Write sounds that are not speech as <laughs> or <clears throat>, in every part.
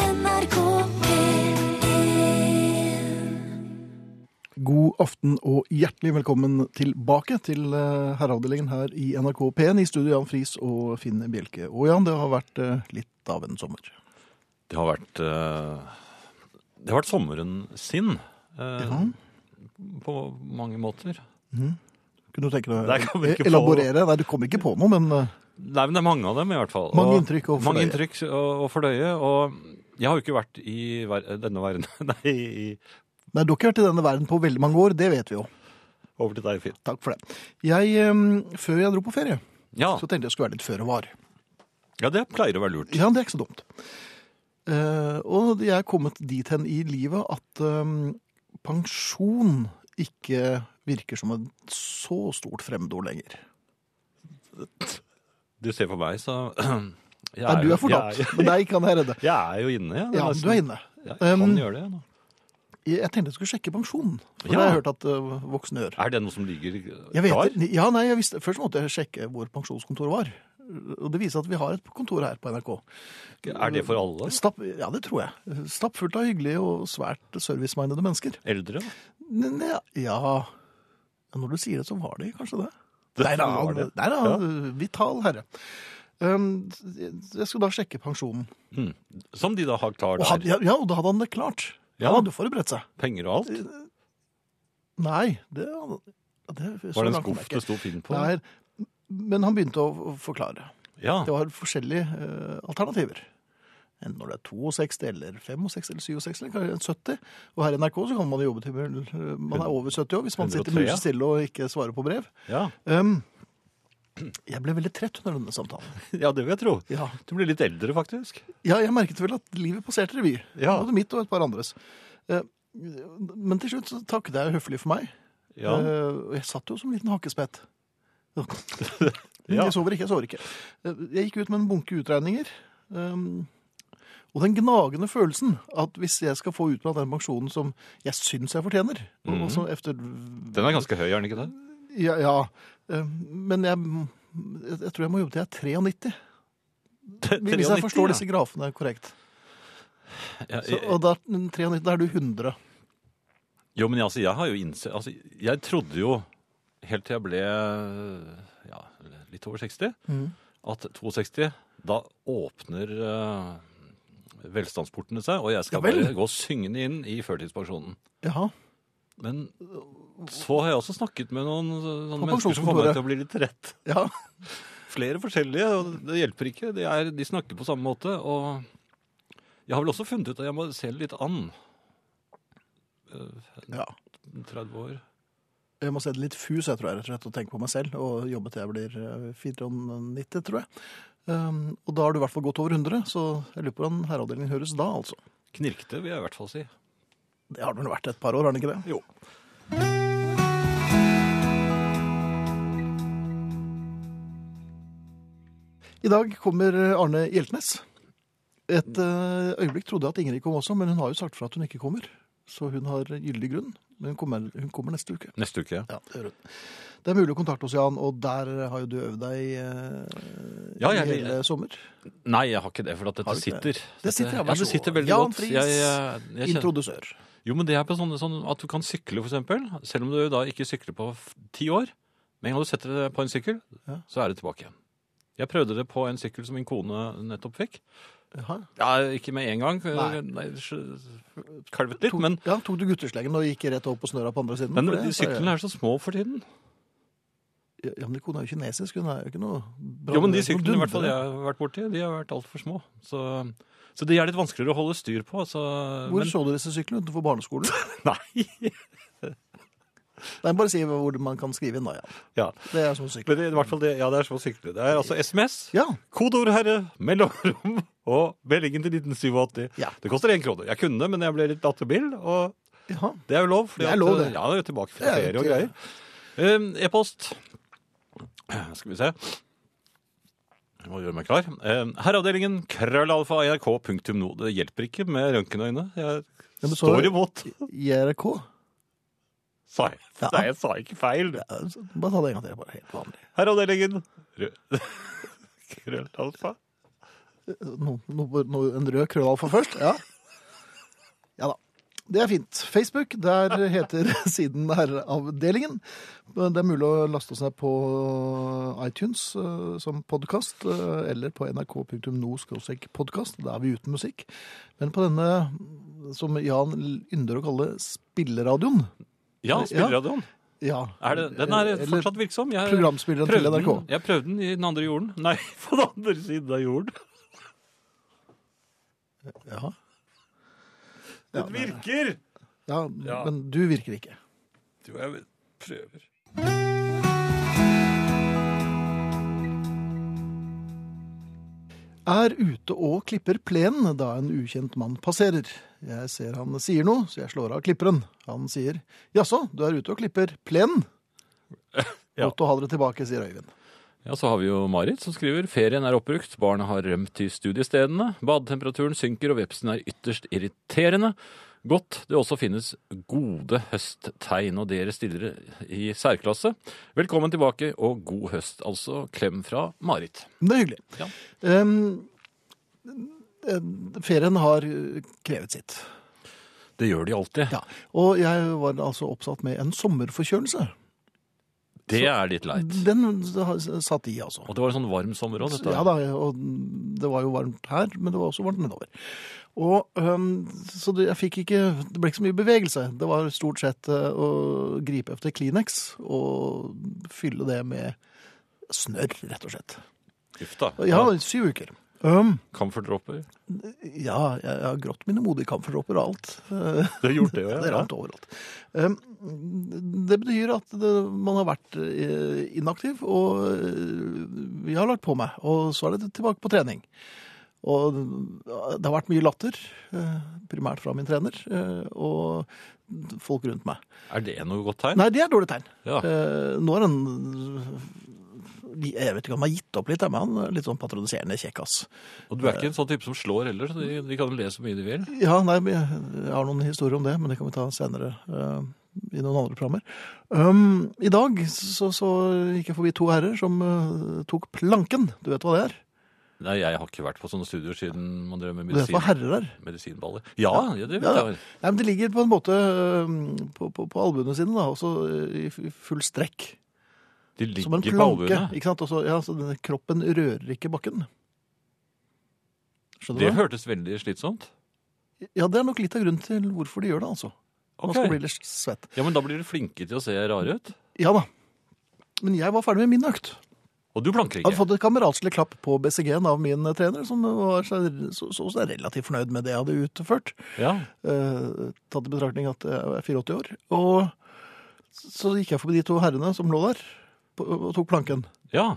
NRK P1 God aften og hjertelig velkommen tilbake til eh, herreavdelingen her i NRK P1 i studio Jan Friis og Finn Bjelke. Og Jan, det har vært eh, litt av en sommer. Det har vært eh, Det har vært sommeren sin. eh, Ja. På mange måter. Kunne du tenke Der kan vi deg å ikke elaborere? Nei, du kom ikke på noe, men eh, Nei, men det er mange av dem, i hvert fall. Mange inntrykk å Mange fordøye. inntrykk å, å fordøye. Og jeg har jo ikke vært i ver denne verden <laughs> Nei, i, nei, du har ikke vært i denne verden på veldig mange år, det vet vi jo. over til deg, Finn. Takk for det. Jeg, eh, før jeg dro på ferie, Ja. så tenkte jeg skulle være litt føre var. ja, det pleier å være lurt. Ja, det er ikke så dumt. Eh, og jeg er kommet dit hen i livet at eh, pensjon ikke virker som et så stort fremmedord lenger. Du ser på meg, så <clears throat> jeg Nei, du jo- er fortapt, Jeg, er- men deg kan jeg <laughs> redde. jeg er jo inne, jeg. Ja, du er inne. Jeg kan Um, gjøre det. Nå. Jeg tenkte jeg skulle sjekke pensjonen, for Ja. det har jeg hørt at øh, voksne gjør. Er det noe som ligger Jeg vet, klar? ja, nei, jeg visste, Først måtte jeg sjekke hvor pensjonskontoret var. Og det viser at vi har et kontor her på NRK. Er det for alle? Stapp, ja, det tror jeg. Stappfullt av hyggelige og svært servicemindede mennesker. Eldre? N- n- Ja, ja Når du sier det, så var det kanskje det. Det Nei da, var det. nei da Ja. vital herre. Um, jeg skulle da sjekke pensjonen. Mm. Som de da har klar Og had, der. ja, ja, og da hadde han det klart. Ja. Han hadde jo forberedt seg. Penger og alt? Nei, det, det Var det en skuff det sto Finn på? Nei, men han begynte å forklare. Ja. Det var forskjellige eh, alternativer. Enten når det er 62 eller 65 eller 67 eller kanskje 70. Og her i NRK så kan man jobbe til eh, man er over 70 år hvis man sitter 103, ja. mulig stille og ikke svarer på brev. ja. Um, jeg ble veldig trett under denne samtalen. <laughs> Ja, det vil jeg tro. Ja, Du blir litt eldre, faktisk. ja jeg merket vel at livet passerte revy. Ja. Både mitt og et par andres. Eh, men til slutt så takket jeg høflig for meg. Ja. Eh, og jeg satt jo som en liten hakkespett. <laughs> Ja. Jeg sover ikke, jeg sover ikke. Eh, Jeg gikk ut med en bunke utregninger. ehm, og den gnagende følelsen at hvis jeg skal få utbetalt den pensjonen som jeg syns jeg fortjener og- og så efter, Mhm. Den er ganske høy, er den <laughs> ikke det? Ja, ja eh, men jeg, jeg, jeg tror jeg må jobbe til jeg er 93. Hvis jeg forstår disse grafene korrekt. ja. Så, og da, 93, da er du 100. Jo, men jeg, altså, jeg har jo innsett altså, Jeg trodde jo helt til jeg ble ja, litt over 60, Mm. at 62 Da åpner eh, velstandsportene seg, og jeg skal Ja vel. bare gå syngende inn i førtidspensjonen. Jaha. Men så har jeg også snakket med noen sånne På mennesker som får meg pensjonskontoret. til å bli litt trett. Ja. flere forskjellige, og det hjelper ikke. De, er, de snakker på samme måte, og jeg har vel også funnet ut at jeg må se det litt an. Eh, ja. 30 år. Jeg må se det litt fus, jeg tror jeg, rett og slett, og tenke på meg selv, og jobbe til jeg blir eh, 94, tror jeg. Um, og da har du i hvert fall gått over 100, så jeg lurer på hvordan herreavdelingen høres da, altså. Knirkete, vil jeg i hvert fall si. Det har det vel vært et par år, har det ikke det? Jo. I dag kommer Arne Hjeltnes. Et eh, øyeblikk trodde jeg at Ingrid kom også, men hun har jo sagt fra at hun ikke kommer. Så hun har gyldig grunn. Men hun kommer, hun kommer neste uke. Neste uke. Ja, det gjør hun. Det er mulig å kontakte oss, Jan, og der har jo du øvd deg eh, Ja, jeg- hele sommer. Nei, jeg har ikke det, for at Har dette du ikke sitter. det? Det sitter, ja, ja. vær Det så sitter god. veldig Jan godt. Friis, Jeg, jeg, jeg kjenner. Introdusør. Jo, men det er på sånne, sånn at du kan sykle, for eksempel. Selv om du da ikke sykler på f- ti år. Men en gang du setter deg på en sykkel, Ja. så er det tilbake igjen. Jeg prøvde det på en sykkel som min kone nettopp fikk. Jaha. Ja, ikke med en gang. Nei. Nei, sj- kalvet litt, Tok, men ja, tok du guttesleggen og gikk rett opp og snøra på andre siden? Men For det- de syklene er så små for tiden. Ja, men Kona er jo kinesisk, hun er jo ikke noe bra- Jo, men de noe syklene i hvert fall dundre. jeg har vært borti, de har vært altfor små. Så, så de er litt vanskeligere å holde styr på. Så, Hvor så du disse syklene utenfor barneskolen? <laughs> Nei! Nei, bare si hvor man kan skrive inn, da. Ja. Ja. Det er sånn sykkel. Men det, i hvert fall det, ja, det er små sykler. Det er altså SMS, Ja. kodeord herre, mellomrom og meldingen til 1987. Ja. Det koster én krone. Jeg kunne, men jeg ble litt lattermild, og Jaha. det er jo lov. fordi Det er at, eh, lov, det. Ja, det er jo Det tilbake fra er jo ferie og ikke- greier. Ehm, E-post. Skal vi se. Jeg må gjøre meg klar. Ehm, Herreavdelingen krøllalfa nrk.no. Det hjelper ikke med røntgenøyne. Jeg Ja, men så- står imot, JRK. sa jeg. Ja. Nei, jeg sa ikke feil. Ja, så Bare ta det en gang til. Bare helt vanlig. Herreavdelingen rø- <laughs> krøllalfa No, no, no, en rød krøllalfa først? Ja. ja da. Det er fint. Facebook, der heter <laughs> siden Herreavdelingen. Det er mulig å laste oss ned på iTunes eh, som podkast, eh, eller på nrk.no-podkast. Da er vi uten musikk. Men på denne, som Jan ynder å kalle spilleradioen Ja, Ja. spilleradioen. ja. Er det, den er Eller fortsatt virksom. Jeg programspilleren til prøvde NRK. den, jeg prøvde den i den andre jorden. Nei, <laughs> på den andre siden av jorden. Ja. Ja, Den virker! Ja, Ja. Men du virker ikke. Jo, jeg prøver. Er ute og klipper plenen da en ukjent mann passerer. Jeg ser han sier noe, så jeg slår av klipperen. Han sier 'jaså, du er ute og klipper plenen'? <laughs> Ja. Godt å ha dere tilbake, sier Øyvind. Ja, så har vi jo Marit som skriver ferien er oppbrukt, barna har rømt til studiestedene, badetemperaturen synker og vepsen er ytterst irriterende. Godt det også finnes gode høsttegn, og dere stiller i særklasse. Velkommen tilbake og god høst, altså. Klem fra Marit. Men det er hyggelig. Ja. Ehm, eh, ferien har eh, krevet sitt. Det gjør de alltid. Ja. Og jeg var altså oppsatt med en sommerforkjølelse. Det er litt leit. Den satt i, altså. Og det var en sånn varm sommer òg, dette. Ja da, og det var jo varmt her, men det var også varmt nedover. Og, øhm, så det, jeg fikk ikke, det ble ikke så mye bevegelse. Det var stort sett øh, å gripe efter Kleenex og fylle det med snørr, rett og slett. Uff da. Ja, syv uker. Øhm, Kamferdråper. ja, jeg, jeg har grått mine modige kamferdråper og alt. Eh, Du har gjort <laughs> det, det er rant overalt. Øhm, det betyr at det, man har vært eh, inaktiv, og eh, jeg har lagt på meg. Og så er det tilbake på trening. Og det har vært mye latter, eh, primært fra min trener, eh, og folk rundt meg. Er det noe godt tegn? Nei, det er dårlig tegn. Ja. Eh, Nå er han Jeg vet ikke om han har gitt opp litt, men han er litt sånn patroniserende kjekkas. Og du er ikke en sånn type som slår heller, så de, de kan jo le så mye de vil. Ja, nei, men jeg jeg har noen historier om det, men det kan vi ta senere eh, i noen andre programmer. Um, I dag så, så gikk jeg forbi to herrer som eh, tok planken. Du vet hva det er? Nei, jeg har ikke vært på sånne studier siden man drev med Du vet medisin. hva herrer er? Medisinballer. Ja, ja, det Ja, vet ja. jeg. Nei, men det ligger på en måte eh, på, på, på albuene sine, da, også eh, i f- i full strekk. De Som en ligger på planke. albuene. Ikke sant? Også, ja, så denne kroppen rører ikke bakken. Skjønner Det du? hva? hørtes veldig slitsomt. Ja, det er nok litt av grunnen til hvorfor de gjør det, altså. Man skal Ok. bli litt svett. Ja, men da blir dere flinke til å se rare ut. Ja da. Men jeg var ferdig med min økt. Og du planker Jeg hadde ikke. fått et kameratslig klapp på BCG-en av min trener, som var så, så, så, så relativt fornøyd med det jeg hadde utført. Ja. Eh, tatt i betraktning at jeg er 84 år. Og så gikk jeg forbi de to herrene som lå der, på, og tok planken. ja.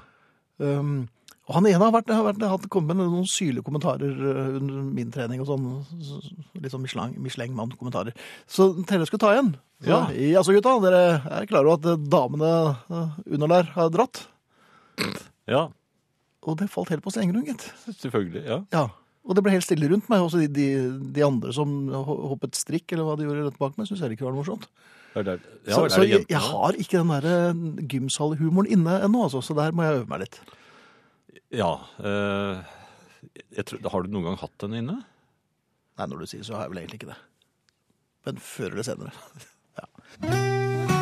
Um, og han ene har, vært, har, vært, har kommet med noen syrlige kommentarer eh, under min trening. og sånn, så- så- Litt sånn Michelin- Michelin-mann-kommentarer. Så Telle skulle ta igjen. Så, Ja. så gutta, dere er klare over at eh, damene eh, under der har dratt? Ja, Og det falt helt på strengrunn, gitt. selvfølgelig. Ja. Ja, og det ble helt stille rundt meg. Også de, de, de andre som ho- hoppet strikk, eller hva de gjorde rett bak meg, syns heller ikke det var noe morsomt. Er det, ja, så er det så jeg, jentene? jeg har ikke den der eh, gymsalhumoren inne ennå, altså, så der må jeg øve meg litt. Ja. eh, jeg tror, har du noen gang hatt den inne? Nei, når du sier så har jeg vel egentlig ikke det. Men før eller senere. <laughs> ja.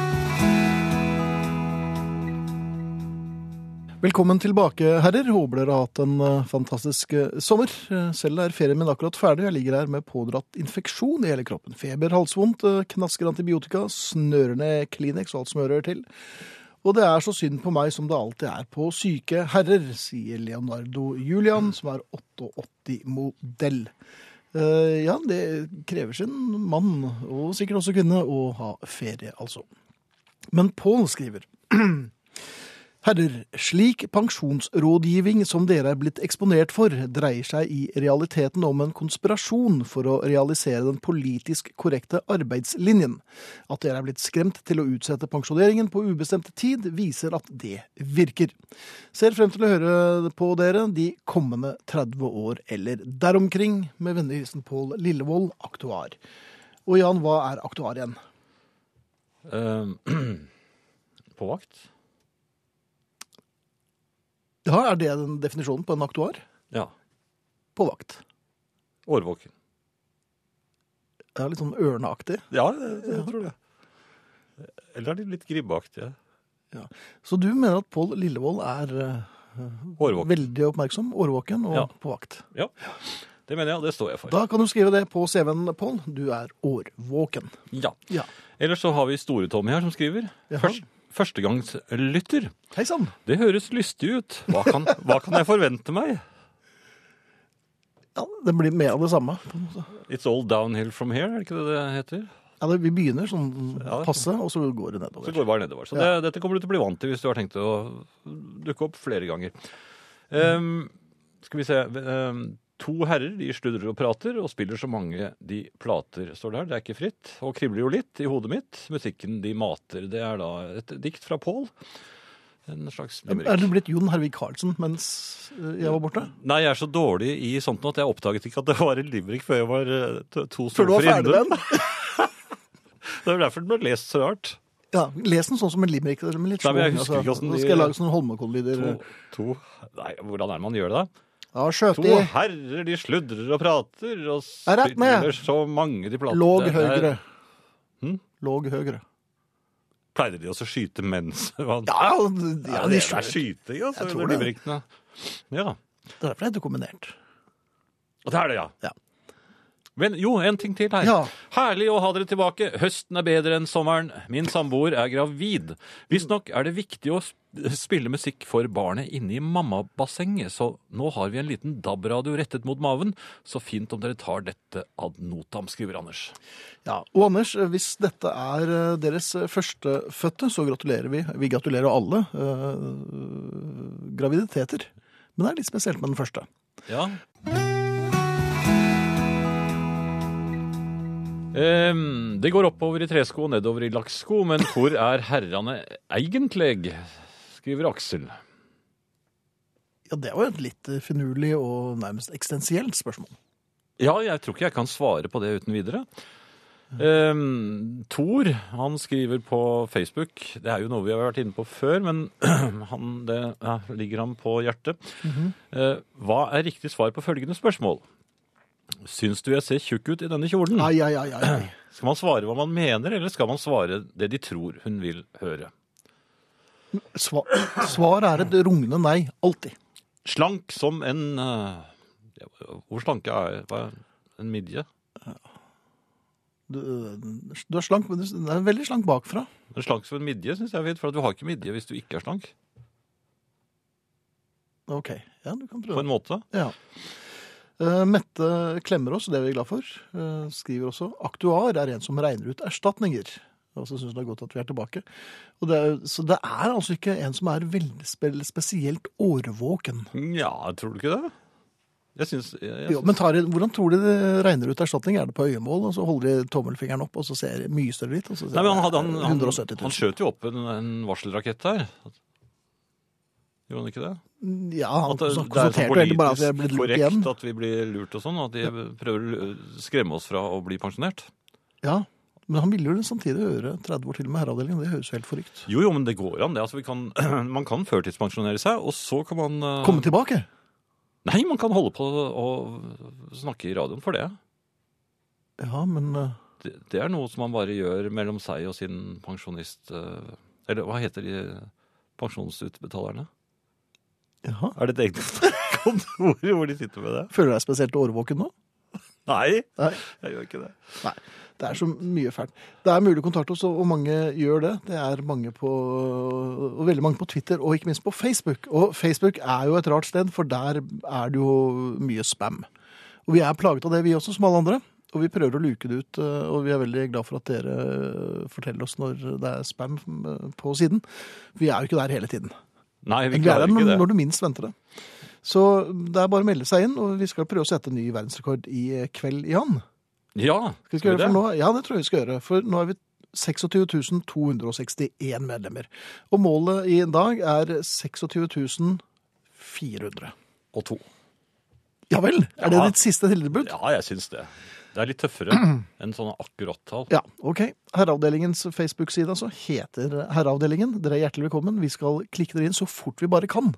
Velkommen tilbake, herrer. Håper dere har hatt en eh, fantastisk eh, sommer. Eh, Selv er ferien min akkurat ferdig. Jeg ligger her med pådratt infeksjon i hele kroppen. Feber, halsvondt, eh, knasker antibiotika, snører ned Kleenex og alt som hører til. Og det er så synd på meg som det alltid er på syke herrer, sier Leonardo Julian, som er 88-modell. Eh, ja, det krever sin mann, og sikkert også kvinne, å ha ferie, altså. Men Pål skriver Herrer, slik pensjonsrådgivning som dere er blitt eksponert for, dreier seg i realiteten om en konspirasjon for å realisere den politisk korrekte arbeidslinjen. At dere er blitt skremt til å utsette pensjoneringen på ubestemt tid, viser at det virker. Ser frem til å høre på dere de kommende 30 år eller deromkring. Med vennlig hilsen Pål Lillevold, aktuar. Og Jan, hva er aktuar igjen? Eh, <clears throat> på vakt? Ja, Er det den definisjonen på en aktuar? Ja. på vakt. Årvåken. Det er litt sånn ørneaktig. Ja, jeg, jeg tror det. Eller er de litt gribbeaktige? Så du mener at Pål Lillevold er eh, Årvåken. veldig oppmerksom, årvåken og Ja. på vakt? Det mener jeg, og det står jeg for. Da kan du skrive det på CV-en, Pål. Du er årvåken. Ja. Ja. Ellers så har vi Store-Tommy her som skriver. Jaha. Først, førstegangslytter. Hei sann! Det høres lystig ut. Hva kan, hva kan jeg forvente meg? Ja, det blir mer av det samme. på en måte. It's all downhill from here, er det ikke det det heter? Ja, det, vi begynner sånn Ja. passe, og så går det Så nedover. går det bare nedover. Så det, dette kommer du til å bli vant til hvis du har tenkt å dukke opp flere ganger. Ehm, skal vi se Ehm, To herrer de sludrer og prater og spiller så mange de plater, står det her. Det er ikke fritt. Og kribler jo litt i hodet mitt. Musikken de mater. Det er da et dikt fra Pål. En slags limerick. Er du blitt Jon Hervik Karlsen mens eh, jeg var borte? Nei, jeg er så dårlig i sånt nå at jeg oppdaget ikke at det var en limerick før jeg var eh, to to Før du var stolper ferdig inne. med den? Det er derfor den ble lest så rart. Ja, Les den sånn som en limerick. eller med litt Nei, men jeg slå, husker ikke hvordan de- Nå skal jeg lage sånne Holmenkolllyder. To, to Nei, hvordan er det man gjør det, da? Ja, To skjøtig. herrer, de sludrer og prater og Er rett ned. spiller så mange de plater. Låg Det er- høyre. Hm? Låg høyre. Pleide de også å skyte mens <laughs> man Ja, ja, de, ja, Ja, de det er skjøt. skyting, Jeg altså. tror Jeg tror det. Ja. Det er derfor det heter kombinert. Og det er det, ja. Ja. Men jo, en ting til her. Ja. Herlig å ha dere tilbake. Høsten er bedre enn sommeren. Min samboer er gravid. Visstnok er det viktig å sp- spille musikk for barnet inne i mammabassenget, så nå har vi en liten DAB-radio rettet mot maven. Så fint om dere tar dette ad notam, skriver Anders. Ja, og Anders, hvis dette er eh, deres førstefødte, så gratulerer vi. Vi gratulerer alle eh, graviditeter. Men det er litt spesielt med den første. Ja. Ehm, det går oppover i tresko og nedover i lakksko, men hvor er herrene egentlig? Skriver Aksel. Ja, Det var jo et litt finurlig og nærmest eksistensielt spørsmål. Ja, jeg tror ikke jeg kan svare på det uten videre. Um, Thor, han skriver på Facebook, det er jo noe vi har vært inne på før, men <clears throat> han, det ja, ligger ham på hjertet. Eh, hva er riktig svar på følgende spørsmål? Syns du jeg ser tjukk ut i denne kjolen? Ai, ai, ai, ai. ai. Skal man svare hva man mener, eller skal man svare det de tror hun vil høre? Sva svar er et rungende nei, alltid. Slank som en eh, ja, Hvor slanke er hva, er- en midje? Du, eh, du er slank, men du er veldig slank bakfra. Men Slank som en midje syns jeg er fint, for at du har ikke midje hvis du ikke er slank. Ok, ja, du kan På prøve. en måte. Ja. Eh, Mette Klemmerås, det er vi glad for, eh, skriver også aktuar er en som regner ut erstatninger. Og så syns hun det er godt at vi er tilbake. Og det er, så det er altså ikke en som er veldig spe- spesielt årvåken. Nja, tror du ikke det? Jeg syns jeg, jeg, Jo, men tar, de- hvordan tror de det regner ut erstatning? Er det på øyemål, og så holder de tommelfingeren opp, og så ser det mye større ut? og så ser Nei, men han, det hadde, han, han, 170 000. han skjøt jo opp en, en varselrakett her. Gjorde han ikke det? ja, han At det, sånn det er konstaterte så jo egentlig bare at vi er blitt politisk lurt korrekt igjen. at vi blir lurt og sånn. At de prøver å lu- skremme oss fra å bli pensjonert. Ja, men han ville jo samtidig høre 30 år til med herreavdelingen. Det høres jo helt forrykt. Jo, jo, men det går an. Det. Altså, vi kan, <clears throat> man kan førtidspensjonere seg, og så kan man eh, Komme tilbake! Nei, man kan holde på å snakke i radioen for det. Ja, men eh, det. Det er noe som man bare gjør mellom seg og sin pensjonist eh, Eller hva heter de pensjonsutbetalerne? Jaha. Er det et eget <laughs> kontor hvor de sitter med det? Føler du deg spesielt årvåken nå? Nei, Nei, jeg gjør ikke det. det er så mye fælt. Det er mulig å kontakte oss, og mange gjør det. Det er mange på, og veldig mange på Twitter, og ikke minst på Facebook. Og Facebook er jo et rart sted, for der er det jo mye spam. Og vi er plaget av det, vi også, som alle andre. Og vi prøver å luke det ut, eh, og vi er veldig glad for at dere forteller oss når det er spam eh, på siden. Vi er jo ikke der hele tiden. Nei, vi Vi er klarer der ikke det. når du minst venter det. Så det er bare å melde seg inn, og vi skal prøve å sette en ny verdensrekord i eh, kveld, Jan. Ja, Skal vi gjøre det? For nå, ja, det tror jeg vi skal gjøre. For nå er vi 26 261 medlemmer. Og målet i dag er 26 400. Og to. Ja vel? Er det Ja. ditt siste tilbud? Ja, jeg syns det. Det er litt tøffere <clears throat> enn sånne akkurat-tall. Ja, ok. Herreavdelingens Facebook-side altså heter Herreavdelingen. Dere er hjertelig velkommen. Vi skal klikke dere inn så fort vi bare kan.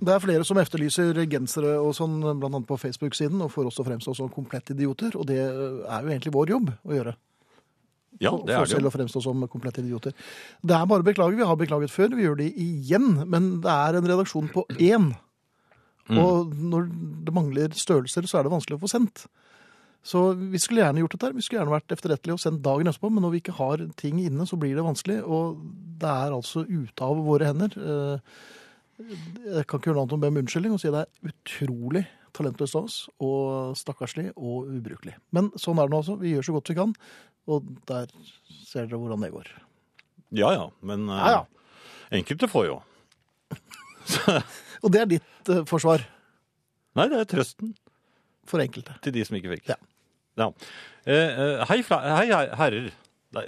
Det er flere som efterlyser gensere og sånn, blant annet på Facebook-siden, og får også fremstå som komplett idioter, og det er jo egentlig vår jobb å gjøre. Ja, For- det for er oss det selv å jo. fremstå som komplette idioter. Det er bare å beklage. Vi har beklaget før, vi gjør det igjen. Men det er en redaksjon på én. Mm. Og når det mangler størrelser, så er det vanskelig å få sendt. Så vi skulle gjerne gjort dette her. Vi skulle gjerne vært efterrettelige og sendt dagen etterpå, men når vi ikke har ting inne, så blir det vanskelig. Og det er altså ute av våre hender. Eh, Jeg kan ikke gjøre noe annet enn å be om unnskyldning og si det er utrolig talentløst av oss, og stakkarslig og ubrukelig. Men sånn er det nå altså. Vi gjør så godt vi kan. Og der ser dere hvordan det går. Ja ja, men eh, Ja, ja. enkelte får jo. Og det er ditt eh, forsvar Nei, det er trøsten for enkelte. til de som ikke fikk. Ja. Ja. Eh, eh, hei, fra, hei, hei, herrer. Nei,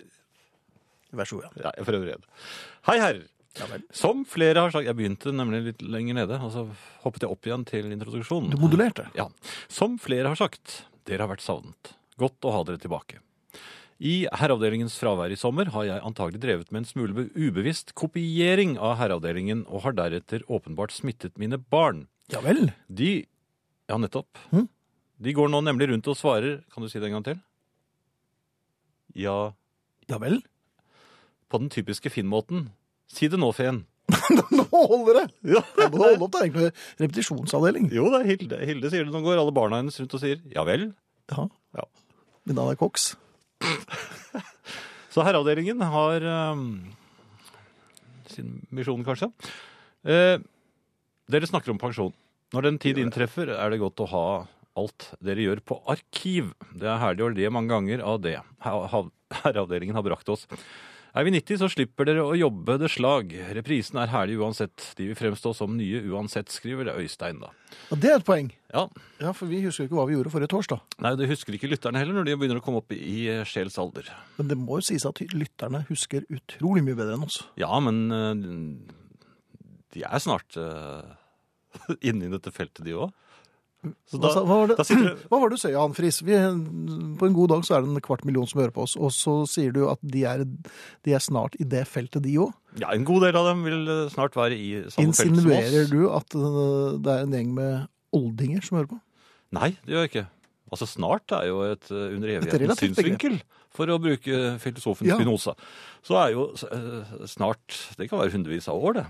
Vær så god, jeg er for øvrig redd. Hei, herrer. ja. vel. Som flere har sagt Jeg begynte nemlig litt lenger nede, og så hoppet jeg opp igjen til introduksjonen. Du modulerte. Ja. Som flere har sagt, dere har vært savnet. Godt å ha dere tilbake. I Herreavdelingens fravær i sommer har jeg antagelig drevet med en smule be- ubevisst kopiering av Herreavdelingen, og har deretter åpenbart smittet mine barn. Ja vel. De Ja, nettopp. Hm? De går nå nemlig rundt og svarer Kan du si det en gang til? Ja, Ja vel. <laughs> på den typiske Finn-måten. Si det nå, Feen. Nå holder det! Ja. Ja, men Hold opp, det er egentlig repetisjonsavdeling. Jo, det er Hilde. Hilde sier det. Nå går alle barna hennes rundt og sier ja vel. Ja. Ja. Min navn er Cox. Så herreavdelingen har ehm, sin misjon, kanskje. Eh, dere snakker om pensjon. Når den tid inntreffer, er det godt å ha alt dere gjør på arkiv. Det er herlig å le mange ganger av det ha- ha- herreavdelingen har brakt oss. Er vi 90, så slipper dere å jobbe det slag. Reprisen er herlig uansett. De vil fremstå som nye uansett, skriver Øystein, da. Ja, det er et poeng. Ja, Ja, for vi husker jo ikke hva vi gjorde forrige torsdag. Nei, Det husker ikke lytterne heller når de begynner å komme opp i eh, sjelsalder. Men det må jo sies at lytterne husker utrolig mye bedre enn oss. Ja, men eh, de er snart eh, <laughs> inne i dette feltet, de òg. Så Hva, da, sa- hva var det, da sitter du hva var det du sa, Jan Friis? Vi, på en god dag så er det en kvart million som hører på oss, og så sier du at de er, de er snart i det feltet, de òg. Ja, en god del av dem vil eh, snart være i samme felt som Insinuerer oss. du at øh, det er en gjeng med oldinger som hører på? Nei, det gjør jeg ikke. Altså, snart er jo et eh, under evighetens relativt begrep. synsvinkel. For å bruke filosofen Ja. Spinoza. Så er jo eh, snart Det kan være hundrevis av år, det.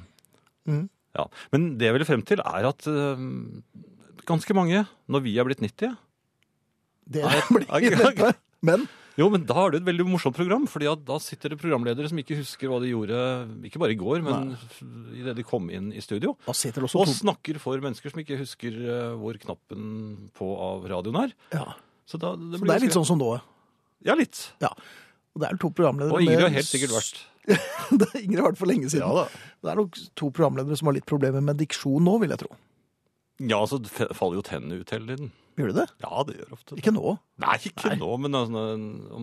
Mhm. Ja. Men det jeg ville frem til, er at eh, ganske mange, når vi er blitt 90 Det <laughs> Nei, blir nei, ikke- dette. Men Jo, men da har du et veldig morsomt program, fordi at da sitter det programledere som ikke husker hva de gjorde, ikke bare i går, men idet de kom inn i studio, da sitter det også og to snakker for mennesker som ikke husker eh, hvor knappen på av radioen er. ja. Så, da, det, Så det er litt sånn som nå. Ja, litt. Ja. Og det er to programledere Og Ingrid har med- helt sikkert vært. <laughs> Det er Ingrid har vært for lenge siden. Ja da. Det er nok to programledere som har litt problemer med diksjon nå, vil jeg tro. Ja, så f- faller jo tennene ut hele tiden. Gjør de det? Ja, det gjør ofte det. Ikke nå. Nei, ikke nå, men altså,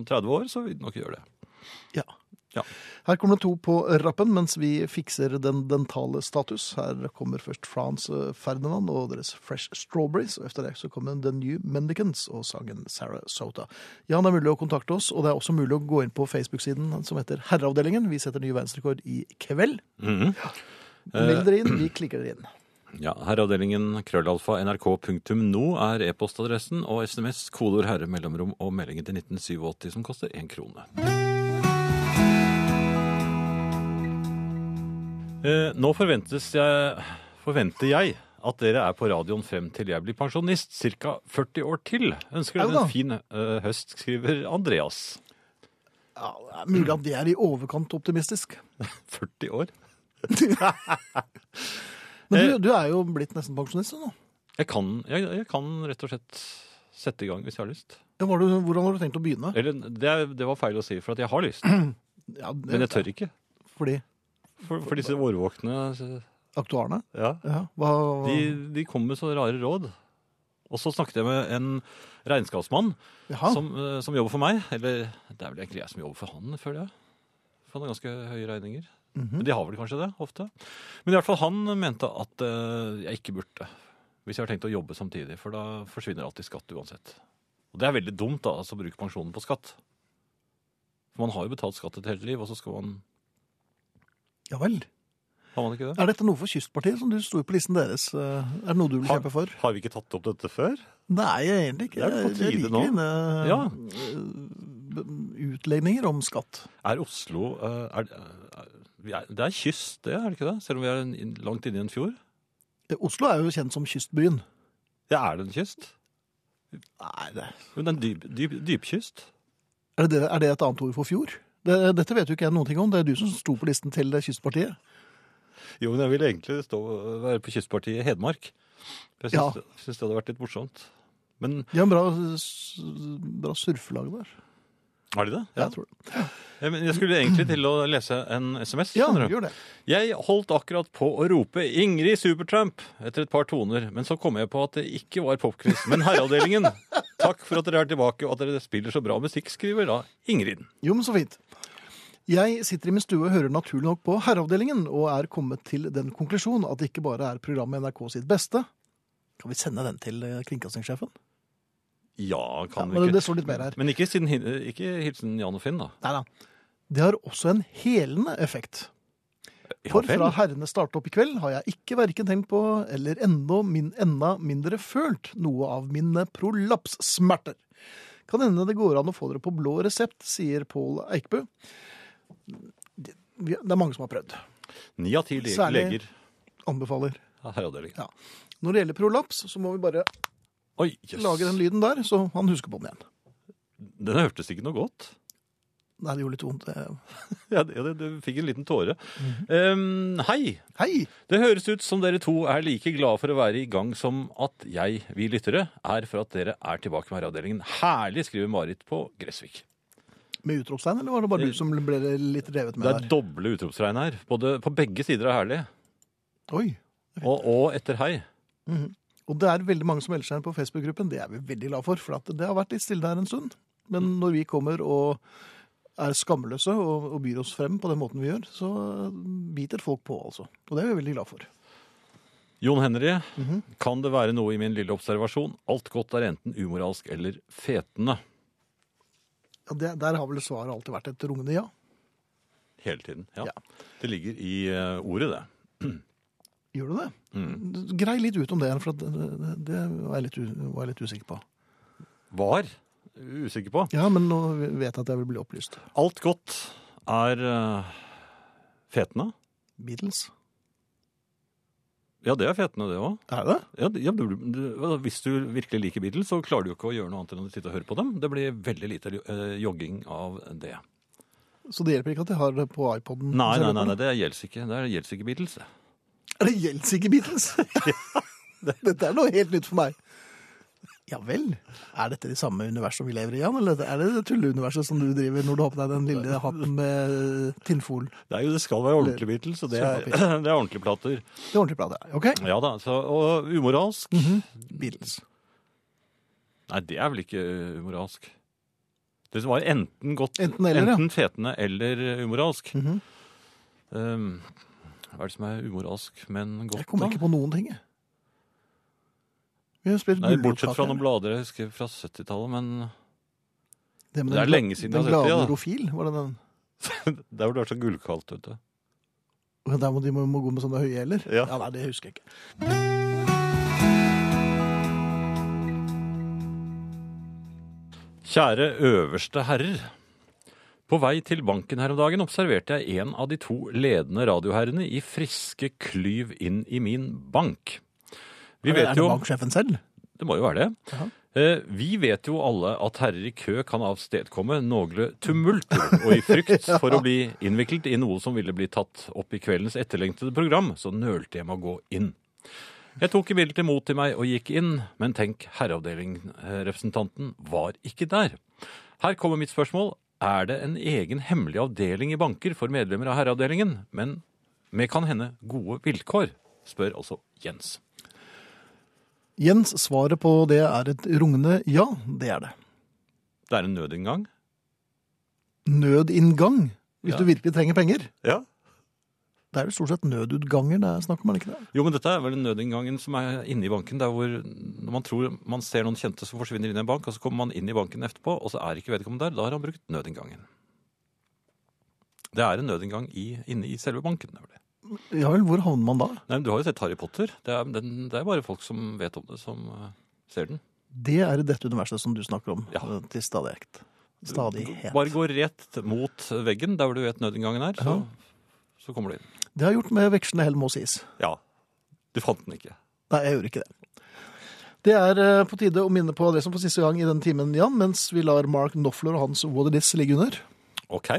om 30 år så vil det nok gjøre det. Ja. Ja. Her kommer det to på rappen mens vi fikser den dentale status. Her kommer først Frans eh, Ferdinand og deres Fresh Strawberries. Og etter det så kommer The New Mendicants og sangen Sarasota. Ja, det er mulig å kontakte oss, og det er også mulig å gå inn på Facebook-siden som heter Herreavdelingen. Vi setter ny verdensrekord i kveld. Mhm. Meld dere inn, vi klikker dere inn. Ja, herreavdelingen krøllalfa nrk.no er e-postadressen, og sms kodeord herre mellomrom og meldingen til 1987 som koster én krone. Eh, nå forventes jeg, forventer jeg at dere er på radioen frem til jeg blir pensjonist, ca. 40 år til. Ønsker Au dere da. en fin eh, høst, skriver Andreas. Ja, det er mulig at det er i overkant optimistisk. 40 år? Eh. Men du, du er jo blitt nesten pensjonist du, nå. Jeg kan, jeg, jeg kan rett og slett sette i gang hvis jeg har lyst. Ja, var du, hvordan har du tenkt å begynne? Eller, det, er- det var feil å si, for at jeg har lyst. Ja, det- Men jeg tør ikke. Fordi For, for disse årvåkne aktuarene? ja, Ja, hva, de, de kom med så rare råd. Og så snakket jeg med en regnskapsmann Jaha. som, eh, som jobber for meg. Eller det er vel egentlig jeg som jobber for han, føler jeg. For han har ganske høye regninger. Mhm. Men De har vel kanskje det, ofte. Men i hvert fall han mente at eh, jeg ikke burde. Hvis jeg har tenkt å jobbe samtidig, for da forsvinner alltid skatt uansett. Og det er veldig dumt da, altså, å bruke pensjonen på skatt. For man har jo betalt skatt et helt liv, og så skal man Ja vel. Har man ikke det? Er dette noe for Kystpartiet, som du sto på listen deres? Eh, Er det noe du vil Har- kjempe for? Har vi ikke tatt opp dette før? Nei, egentlig ikke. Det er vel på Jeg- jeg tide liker nå. dine, Ja. eh, b- utlegninger om skatt. Er Oslo eh, er, er, vi er, Det er kyst, det, er det ikke det? Selv om vi er en, inn- langt inne i en fjord? Eh, Oslo er jo kjent som kystbyen. Ja, er det en kyst? Nei, det... Jo, det er en dyp, dyp, dypkyst. Er, det, er det et annet ord for fjord? Det, dette vet jo ikke jeg noen ting om. Det er du som sto på listen til Kystpartiet. Jo, men jeg ville egentlig stå, være på kystpartiet i Hedmark. For Jeg syns, syns det hadde vært litt morsomt. Men De har en bra, s- bra surfelag der. er de det? Jeg tror det. Jeg, men jeg skulle egentlig til å lese en SMS. Ja, skjønner du. gjør det. Jeg holdt akkurat på å rope 'Ingrid Supertramp' etter et par toner, men så kom jeg på at det ikke var popquiz, men Herreavdelingen. Takk for at dere er tilbake og at dere spiller så bra musikk, skriver da Ingrid. Jo, men så fint. Jeg sitter i min stue og hører naturlig nok på Herreavdelingen, og er kommet til den konklusjon at det ikke bare er programmet NRK sitt beste. Kan vi sende den til eh, kringkastingssjefen? Ja, Ja, kan men vi det ikke. står litt mer her. Men ikke, siden, hin- ikke hilsen Jan og Finn, da. Nei da. Det har også en helende effekt. For vel. fra herrene startet opp i kveld har jeg ikke verken tenkt på, eller enda, min, enda mindre følt, noe av mine prolapssmerter. Kan hende det går an å få dere på blå resept, sier Pål Eikbø. Det, vi- det er mange som har prøvd. Ni av ti le Særlig- leger Anbefaler. av Herreavdelingen. Ja. Når det gjelder prolaps, så må vi bare Oi, jøss. lage den lyden der, så han husker på den igjen. Den hørtes ikke noe godt. <laughs> Nei, det gjorde litt vondt. Eh, Ja, det, ja, det, du fikk en liten tåre. Mhm. Em, hei! Hei! Det høres ut som dere to er like glade for å være i gang som at jeg, vi lyttere, er for at dere er tilbake med Herreavdelingen. Herlig, skriver Marit på Gressvik. Med utropstegn, eller var det bare du som ble litt revet Det med er der? doble utropstegn her. Både på begge sider er herlig. Oi! Og, og etter hei. Og det er veldig mange som melder seg inn på Facebook-gruppen. Det er vi veldig glad for, for at det har vært litt stille der en stund. Men når vi kommer og er skamløse og, og byr oss frem på den måten vi gjør, så biter folk på, altså. Og det er vi veldig glad for. Jon Henry, kan det være noe i min lille observasjon? Alt godt er enten umoralsk eller fetende. Ja, det, der har vel svaret alltid vært et rungende ja. Hele tiden. Ja. Ja. Det ligger i eh, ordet, det. Gjør du det? Mm. Grei litt ut om det, for at det, det, det var, jeg litt, u- var jeg litt usikker på. Var? Usikker på. Ja, men nå vet jeg at jeg vil bli opplyst. Alt godt er eh, fetende. Beatles? Ja, det er fetende, det òg. Er det? Ja, det- ja, du, du, hvis du virkelig liker Beatles, så klarer du jo ikke å gjøre noe annet enn å sitte og høre på dem. Det blir veldig lite eh, jogging av det. Så det hjelper ikke at jeg har det på iPoden? Nei, nei, nei, nei det gjelder ikke. Det er- gjelder ikke Beatles. det. Er det gjelds ikke <laughs> Beatles? <laughs> Dette er noe helt nytt for meg. Ja vel. Er dette det samme universet vi lever i, Jan? Eller er det det tulleuniverset som du driver når du har på deg den lille hatten med eh, tinnfol? Det, er jo, det skal være ordentlig Beatles, og det er, <clears throat> det er ordentlige plater. Det er ordentlig bra, det. OK? Ja da, så, Og umoralsk Beatles. Nei, det er vel ikke uh, umoralsk. Det som var enten godt Enten eller, ja. Mhm. enten fetende eller umoralsk. um, hva er det som er umoralsk, men godt, Jeg kommer da? ikke på noen ting, jeg. Vi har spilt Nei, bortsett fra Gullrotkaker. noen blader jeg husker fra 70-tallet, men <laughs> Det, med Det er den- lenge siden Den jeg har sett det, glade ja. rofil, var det den? Der hvor det er så gullkaldt ute. Og Der må de må, må gå med sånne høye hæler? Ja. nei, det husker jeg ikke. Kjære øverste herrer. På vei til banken her om dagen observerte jeg en av de to ledende radioherrene i friske klyv inn i min bank. Vi er vet det jo banksjefen selv? Det må jo være det. Ja. Eh, Vi vet jo alle at herrer i kø kan avstedkomme noe tumult, og i frykt for å bli innviklet i noe som ville bli tatt opp i kveldens etterlengtede program, så nølte jeg med å gå inn. Jeg tok imidlertid mot til meg og gikk inn, men tenk, herreavdelingrepresentanten var ikke der. Her kommer mitt spørsmål. Er det en egen hemmelig avdeling i banker for medlemmer av herreavdelingen, men med kan hende gode vilkår? Spør altså Jens. Jens, svaret på det er et rungende ja. Det er det. Det er en nødinngang. nødinngang hvis Ja. du virkelig trenger penger. Ja. Det er jo stort sett nødutganger det er snakk om, er det ikke det? Jo, men dette er vel nødinngangen som er inne i banken. Der hvor når man tror man ser noen kjente som forsvinner inn i en bank, og så kommer man inn i banken etterpå, og så er ikke vedkommende der. Da har han brukt nødinngangen. Det er en nødinngang i, inne i selve banken. nemlig. Ja vel, hvor havner man da? Nei, men Du har jo sett Harry Potter. Det er, den, det er bare folk som vet om det, som eh, ser den. Det er i dette universet som du snakker om Ja. eh, til stadighet. Stadighet. Bare gå rett mot veggen, der hvor du vet nødutgangen er, så, så kommer du inn. Det har jeg gjort med vekslende hell, må sies. Ja. Du fant den ikke. Nei, jeg gjorde ikke det. Det er eh, på tide å minne på det som for siste gang i den timen, Jan, mens vi lar Mark Knopfler og hans What It Is ligge under. Ok.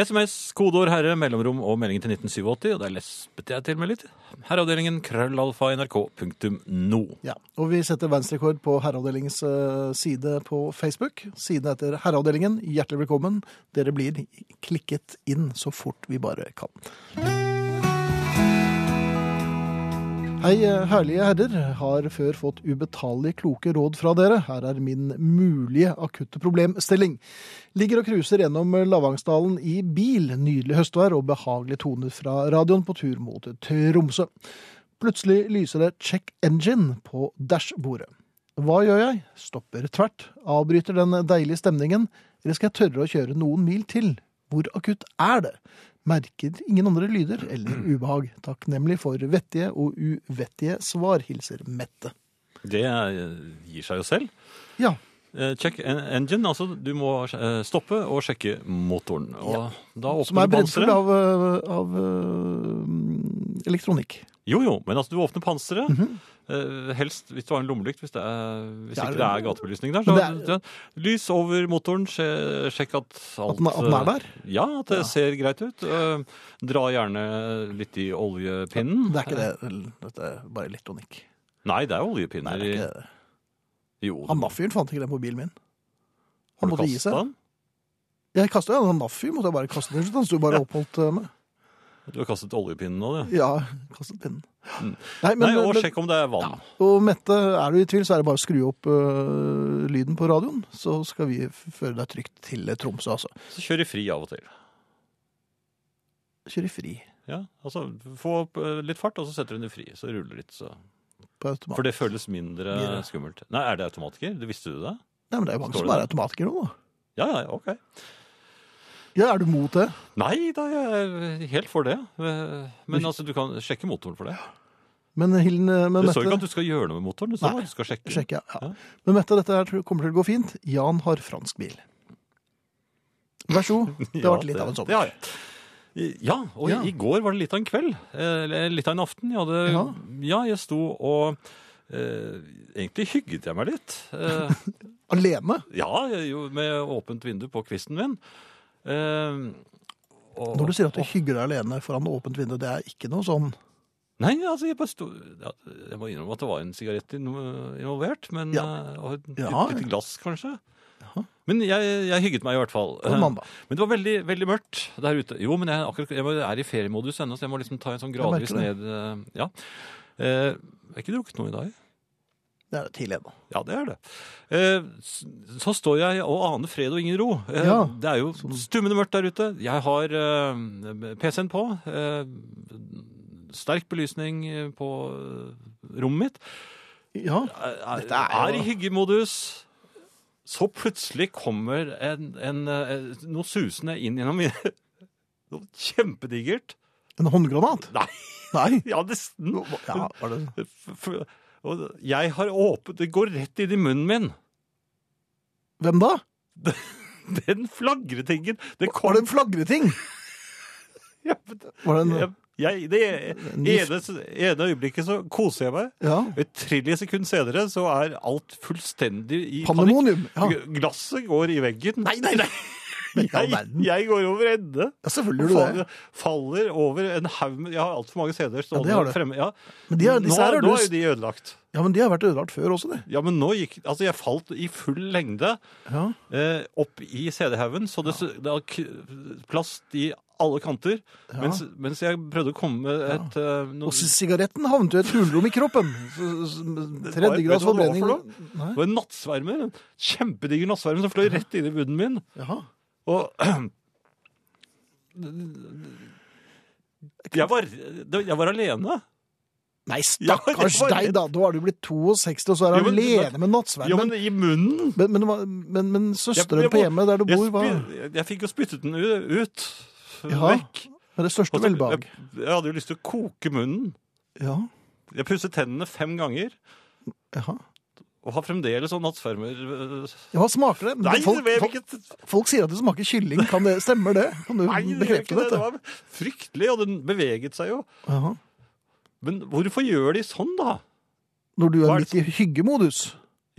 SMS, kodeord herre, mellomrom og meldingen til 1987, og der lespet jeg til meg litt. Herreavdelingen krøllalfa nrk.no. Ja, og vi setter verdensrekord på Herreavdelingens eh, side på Facebook. Siden heter Herreavdelingen. Hjertelig velkommen. Dere blir klikket inn så fort vi bare kan. Hei, eh, herlige herrer. Har før fått ubetalelige kloke råd fra dere. Her er min mulige akutte problemstilling. Ligger og cruiser gjennom Lavangsdalen i bil. Nydelig høstvær og behagelige toner fra radioen på tur mot Tromsø. Plutselig lyser det 'check engine' på dashbordet. Hva gjør jeg? Stopper tvert. Avbryter den deilige stemningen. Eller skal jeg tørre å kjøre noen mil til? Hvor akutt er det? Merker ingen andre lyder <clears throat> eller ubehag. Takknemlig for vettige og uvettige svar, hilser Mette. Det eh, gir seg jo selv. Ja, Eh, Check en- engine, altså du må eh, stoppe og sjekke motoren. Og da åpner som er du panseret. brensel av, øh, av øh, elektronikk. Jo, jo, men altså, du åpner panseret. eh, helst hvis du har en lommelykt, hvis, det er, Mhm. hvis Ja, ikke det det- er gatebelysning der. Så, Men det lys over motoren, sje, sjekk at alt At den, at den er eh, der. Ja, at det Ja. ser greit ut. Eh, dra gjerne litt i oljepinnen. Det er ikke det. vel, Dette er bare elektronikk. Nei, det er oljepinner. Nei, det er ikke det. i- Jo, Han Naffyren fant ikke den på bilen min. har du måtte gi seg. kastet den? Jeg kastet jo en Naffy, måtte jeg bare kaste den. Han sto bare oppholdt eh, meg. Du har kastet oljepinnen nå, du. Ja, kastet pinnen. Mm. Nei, men, Nei, og men- sjekk om det er vann. og Mette, er du i tvil, så er det bare å skru opp øh, lyden på radioen, så skal vi f- føre deg trygt til eh, Tromsø, altså. Så kjør i fri av og til. Kjøre fri Ja, altså Få opp eh, litt fart, og så setter hun det fri. Så ruller det litt, så på For automat. det føles mindre Videre. skummelt. Nei, er det automatiker? Det visste du det? Nei, men det er jo mange Står som det er automatikere nå. da. Ja, ja, ok. Ja, er du mot det? Nei, da, jeg er helt for det. Men altså, du kan sjekke motoren for det. Men Hilden, eh, men Det står ikke Mette, at du skal gjøre noe med motoren. Det står Nei. bare at du skal sjekke. den. sjekker jeg. Ja. Ja. Men Mette, dette her tror jeg kommer til å gå fint. Jan har fransk bil. Vær så god. Det har Ja, vært litt av en det sommer. har jeg. Ja, og i- Ja. i går var det litt av en kveld. eh, Eller litt av en aften. Jeg hadde, ja. Ja. jeg sto og eh, Egentlig hygget jeg meg litt. Eh, Alene? ja, jeg- jo, med åpent vindu på kvisten min. Eh, og- Når du sier at du og- hygger deg alene foran åpent vindu, det er ikke noe sånn Nei, altså, jeg bare sto ja, Jeg må innrømme at det var en sigarett inno- involvert. Men, Ja. eh, Og et Ja, lite glass, kanskje. Jaha. Men jeg, jeg hygget meg i hvert fall. Eh, på en mandag. Men det var veldig, veldig mørkt der ute. Jo, men jeg, er akkurat, jeg må- er i feriemodus ennå, så jeg må liksom ta en sånn Jeg merker gradvis ned eh, Ja. Eh, Jeg har ikke drukket noe i dag. Det er tidlig ennå. Ja, det er det. Eh, s- Så står jeg og aner fred og ingen ro. Eh, Ja. Sånn. Det er jo stummende mørkt der ute. Jeg har eh, PC-en på. eh, Sterk belysning eh, på eh, rommet mitt. Ja. Er, Dette er, er jo- i hyggemodus. Så plutselig kommer en, en, eh, noe susende inn gjennom <laughs> Noe kjempedigert. En håndgranat? Nei. Nei. Ja, nesten. Ja, var det... F- f- Og jeg har åpent Det går rett inn i munnen min. Hvem da? <laughs> Den flagretingen. Det Var kom <laughs> det en flagreting? Ja, Var det en... jeg, jeg, Det ene, ene øyeblikket så koser jeg meg. Ja. Et trilje sekund senere så er alt fullstendig i panikk. Pandemonium. Ja. Glasset går i veggen. Nei, nei, nei. <laughs> Men i all Jeg, verden. jeg går over ende. ja, selvfølgelig gjør du det. Faller, faller over en haug med Jeg har altfor mange CD-er stående det har du. fremme. Ja. Men de har, nå, disse her har nå er jo du... de ødelagt. Ja, men de har vært ødelagt før også, de. Ja, men nå gikk Altså, jeg falt i full lengde Ja. eh, opp i CD-haugen, så det, det var k plast i alle kanter. Ja. Mens, mens jeg prødde å komme med et eh, noe, Og s- sigaretten havnet jo i et hullrom i kroppen. Så- så- så- var- Tredje vet du grads hva det var forbrenning. for Nei. det var en nattsvermer. En kjempediger nattsvermer som fløy rett inn i bunnen min. Jaha. Og <clears throat> jeg var, jeg var alene. Nei, Ja, det var stakkars deg, rett. da. Da er du blitt 62, og så er du Jo, men- alene med Ja, nattsvermen. men i munnen! Men, men, det var- men, men Jeg- søsteren jeg på må- hjemmet der du Jeg, bor, var spy- jeg fikk jo spyttet den u- ut. Ja. Vekk. Med det største Og så- velbehag. Altså, Jeg, jeg hadde jo lyst til å koke munnen. Ja, Jeg pusset tennene fem ganger. jaha. Og har fremdeles sånn nattsvermer øh, Ja, hva smaker det? Men Nei, folk, det, folk, hvilket, folk sier at det smaker kylling. Kan det, stemmer det? Kan du nei, det, gjør bekrefte ikke det. det dette? var fryktelig, og den beveget seg jo. Jaha. Men hvorfor gjør de sånn, da? Når du er Hva er midt i hyggemodus.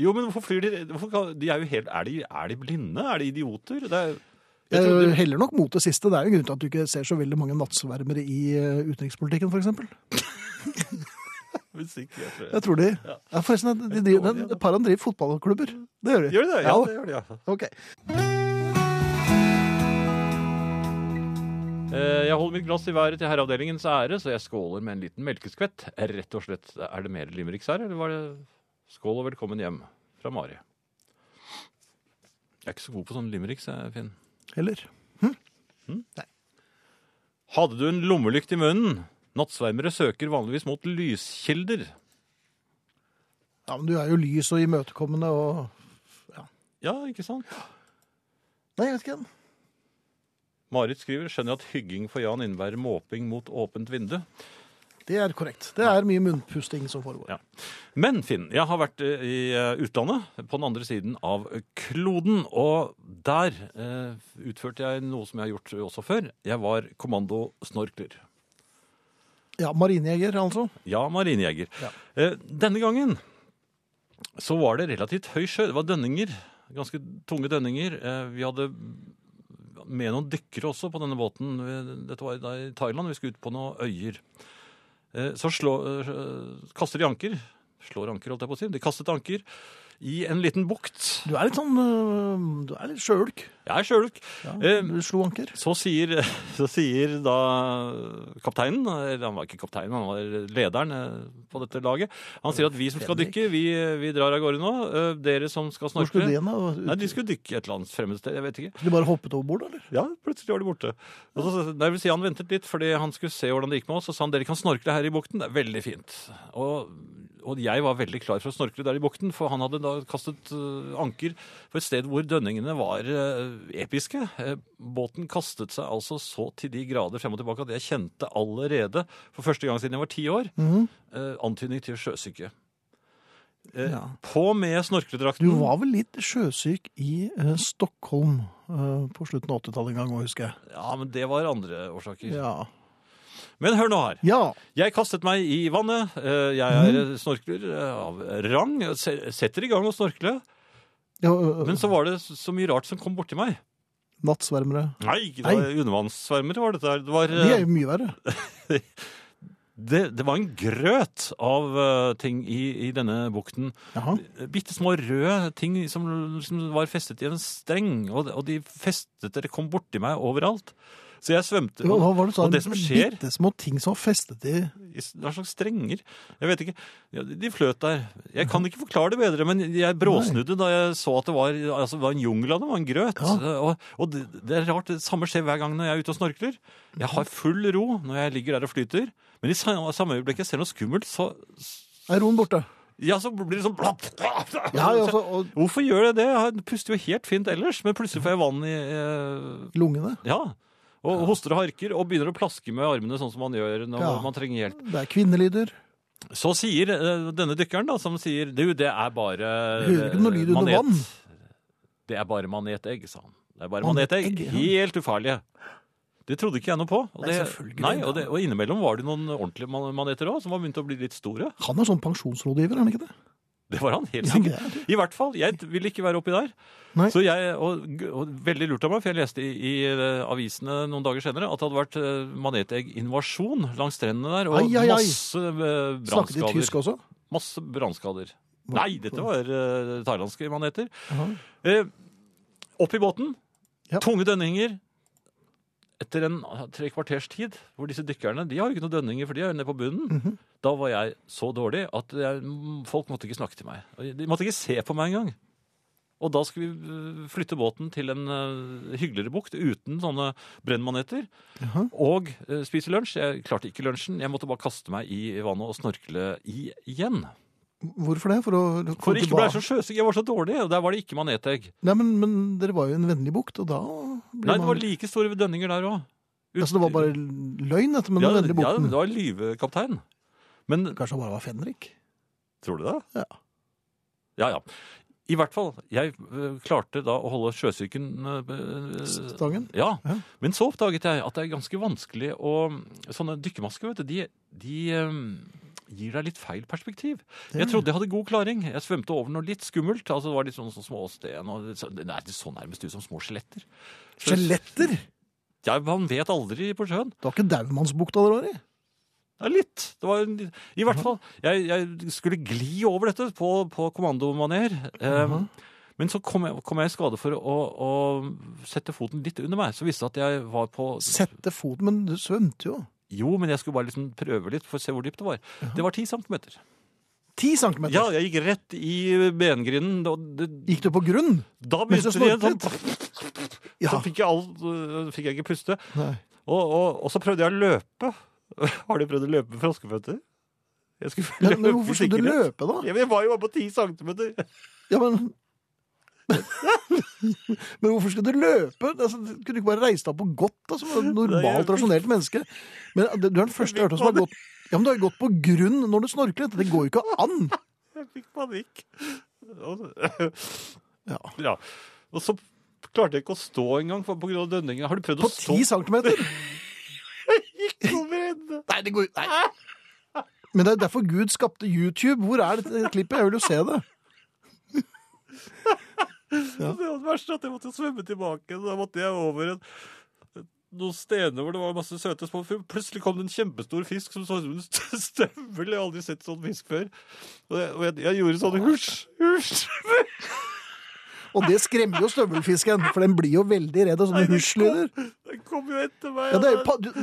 Jo, men hvorfor flyr de hvorfor, kan- de er, jo helt, er, de, er de blinde? Er de idioter? Det er, jeg Jeg trodde, eh, heller nok mot det siste. Det er jo en grunn til at du ikke ser så veldig mange nattsvermere i eh, utenrikspolitikken, f.eks. Hvis ikke, jeg tror- Jeg tror de ja, Forresten, de, de, de, de, et par av dem driver fotballklubber. Det gjør de. Gjør de det? Ja, Ja, det gjør de, ja. ok. Eh, Jeg holder mitt glass i været til herreavdelingens ære, så jeg skåler med en liten melkeskvett. Rett og slett. Er det mer Limericks her, eller var det Skål og velkommen hjem fra Mari. Jeg er ikke så god på sånn Limericks, jeg, Finn. Heller. Hadde du en lommelykt i munnen? Nattsvermere søker vanligvis mot lyskilder. Ja, men du er jo lys og imøtekommende og Ja, ikke sant? Nei, jeg vet ikke. Marit skriver skjønner at hygging for Jan innebærer måping mot åpent vindu. Det er korrekt. Det er mye munnpusting som foregår. Ja. Men Finn, jeg har vært eh, i eh, utlandet, på den andre siden av kloden. Og der eh, utførte jeg noe som jeg har gjort også før. Jeg var kommandosnorkler. Ja, Marinejeger, altså. Ja, marinejeger. Ja. Eh, denne gangen så var det relativt høy sjø. Det var dønninger. Ganske tunge dønninger. Eh, vi hadde med noen dykkere også på denne båten. Vi- Dette var da i Thailand. Vi skulle ut på noen øyer. Eh, så slå, eh, kaster de anker. Slår anker, holdt jeg på å si. De kastet anker i en liten bukt. Du er litt sånn øh, Du er litt sjøulk. Jeg er sjøluk. Ja, Eh, du slo anker. Så sier, <laughs> så sier da kapteinen, eller han var ikke kapteinen, han var lederen eh, på dette laget, han sier at vi som skal Fredrik. dykke, vi, vi drar av gårde nå. Eh, Dere som skal Hvor snorkle skulle det hen? da? Nei, de skulle dykke et eller annet fremmed sted, jeg vet ikke. Skulle de bare hoppet over bord, eller? Ja, plutselig var de borte. Og så, nei, jeg vil si han ventet litt, fordi han skulle se hvordan det gikk med oss, og sa han, dere kan snorkle her i bukten, det er veldig fint. Og, og jeg var veldig klar for å snorkle der i bukten, for han hadde da kastet eh, anker på et sted hvor dønningene var eh, episke. Eh, båten kastet seg altså så til de grader frem og tilbake at jeg kjente allerede, for første gang siden jeg var ti år, Mhm. eh, antydning til sjøsyke. Eh, Ja. På med Du snorkledrakten. var vel litt sjøsyk i eh, Stockholm eh, på slutten av 80-tallet en gang òg, husker jeg. Ja, men det var andre årsaker. Ja. Men hør nå her. ja. Jeg kastet meg i vannet. Eh, Jeg er Mhm. snorkler eh, av rang. Jeg se- Setter i gang å snorkle. ja øh, Men så var det så mye rart som kom borti meg. Nattsvermere. Nei, ikke Nei. det. undervannssvermere var dette her. Det var, De er eh, jo mye verre. det, det var en grøt av eh, ting i, i denne bukten. Jaha. Bitte små røde ting som, som var festet i en streng. Og, og de festet eller kom borti meg overalt. Så jeg svømte. Hva hva var det du sa? og det som skjer Bitte små ting som var festet i i s- hva slags strenger? Jeg vet ikke. Ja, de- de fløt der. Jeg kan ikke forklare det bedre, men jeg bråsnudde da jeg så at det var, altså, det var en jungel av det, det var en grøt. Eh, Og, og det, det er rart, det samme skjer hver gang når jeg er ute og snorkler. Jeg har full ro når jeg ligger der og flyter, men i sa- samme øyeblikk jeg ser noe skummelt, så, Er roen borte? ja, så blir det sånn Ja, ja, altså, og Hvorfor gjør jeg det? Jeg puster jo helt fint ellers, men plutselig får jeg vann i eh, lungene. Ja. Og hoster og harker og begynner å plaske med armene sånn som man gjør når Ja. man trenger hjelp. Det er kvinnelyder. Så sier eh, denne dykkeren da, som sier Du, det er bare Hører ikke noe lyd under vann. Det er bare manetegg, sa han. Det er bare Manetegg, manetegg. ja. Helt ufarlige. Det trodde ikke jeg noe på. Og Nei, det, selvfølgelig nei, ikke. og, det, og innimellom var det noen ordentlige man- maneter òg, som var begynt å bli litt store. <laughs> Han er sånn pensjonsrådgiver, er han ikke det? Det var han helt Ja, sikkert. det er det. I hvert fall. Jeg ville ikke være oppi der. Nei. Så jeg, og, og Veldig lurt av meg, for jeg leste i, i eh, avisene noen dager senere at det hadde vært eh, manetegginvasjon langs strendene der, og Ai, ai, ai. masse Snakket eh, de brannskader. tysk også? Masse brannskader. Hva- Nei, dette var eh, thailandske maneter. Jaha. Eh, opp i båten, Ja. tunge dønninger. Etter en eh, tre kvarters tid, hvor disse dykkerne de har jo ikke noen dønninger, for de er jo nede på bunnen. Mhm. Da var jeg så dårlig at jeg, mm, folk måtte ikke snakke til meg. Og De måtte ikke se på meg engang. Og da skulle vi eh, flytte båten til en eh, hyggeligere bukt uten sånne brennmaneter. Jaha. Og eh, spise lunsj. Jeg klarte ikke lunsjen. Jeg måtte bare kaste meg i vannet og snorkle i igjen. Hvorfor det? For å For ikke ble jeg så sjøsyk. Jeg var så dårlig, og der var det ikke manetegg. Nei, men, men dere var jo i en vennlig bukt, og da Nei, det var like store dønninger der òg. Ut- Altså, det var bare løgn, dette med ja, den vennlige ja, bukten. det var lyvekaptein. Men Kanskje det bare var Fenrik? Tror du det? Ja. Ja, ja. I hvert fall. Jeg øh, klarte da å holde sjøsyken øh, øh, Stangen? Ja. Ja. Men så oppdaget jeg at det er ganske vanskelig å Sånne dykkermasker, vet du, de, de øhm, gir deg litt feil perspektiv. Det Jeg er- trodde jeg hadde god klaring. Jeg svømte over noe litt skummelt. altså Det var litt sånn, sånn små sten og litt sånn- Nei, det så nærmest ut som små skjeletter. Så- Skjeletter! Ja, man vet aldri på sjøen. Det var ikke Daumannsbukta dere var i? Ja, litt. Det var en, I hvert fall. Jeg, jeg skulle gli over dette på, på kommandomaner. Eh, Men så kom jeg, kom jeg i skade for å, å sette foten litt under meg. Så visste jeg at jeg var på Sette foten, men du svømte jo. Jo, men jeg skulle bare liksom prøve litt for å se hvor dypt det var. Det var ti centimeter. Ti centimeter! Ja, jeg gikk rett i bengrinden. Og det, Gikk du på grunn? da Mens jeg begynte det igjen snorklet? sånn Ja. Så fikk jeg, all, øh, fikk jeg ikke puste. <laughs> Nei. Og, og, og så prøvde jeg å løpe. <laughs> Har du prøvd å løpe med froskeføtter? Jeg skulle Men, løpe men hvorfor skulle du sikkerhet. løpe, da? Ja, men jeg var jo bare på ti centimeter. <laughs> Ja, men... <laughs> men hvorfor skulle du løpe? Altså, du kunne ikke bare reist deg opp og gått, da, som et normalt, rasjonelt menneske. Men det- du er den første jeg hørte som har gått Ja, men du har gått på grunn når du snorklet. Det går jo ikke an! Jeg fikk panikk. Og, Ja. <laughs> ja. og så klarte jeg ikke å stå engang for- på grunn av dønningen. Har du prøvd På å stå? <laughs> ti centimeter! Ikke over ende. Nei, det går jo Nei. <laughs> Men det er derfor Gud skapte YouTube. Hvor er dette klippet? Jeg vil jo se det. Det var det verste at jeg måtte svømme tilbake. Da måtte jeg over en noen stener hvor det var masse søte små fugler. Plutselig kom det en kjempestor fisk som så ut som en st- støvel. Jeg har aldri sett sånn fisk før. Og jeg, og jeg, jeg gjorde sånn husj, husj. Og det skremmer jo støvelfisken, for den blir jo veldig redd av sånne husjlyder. Den kom jo etter meg. Ja, det, er jo pa du-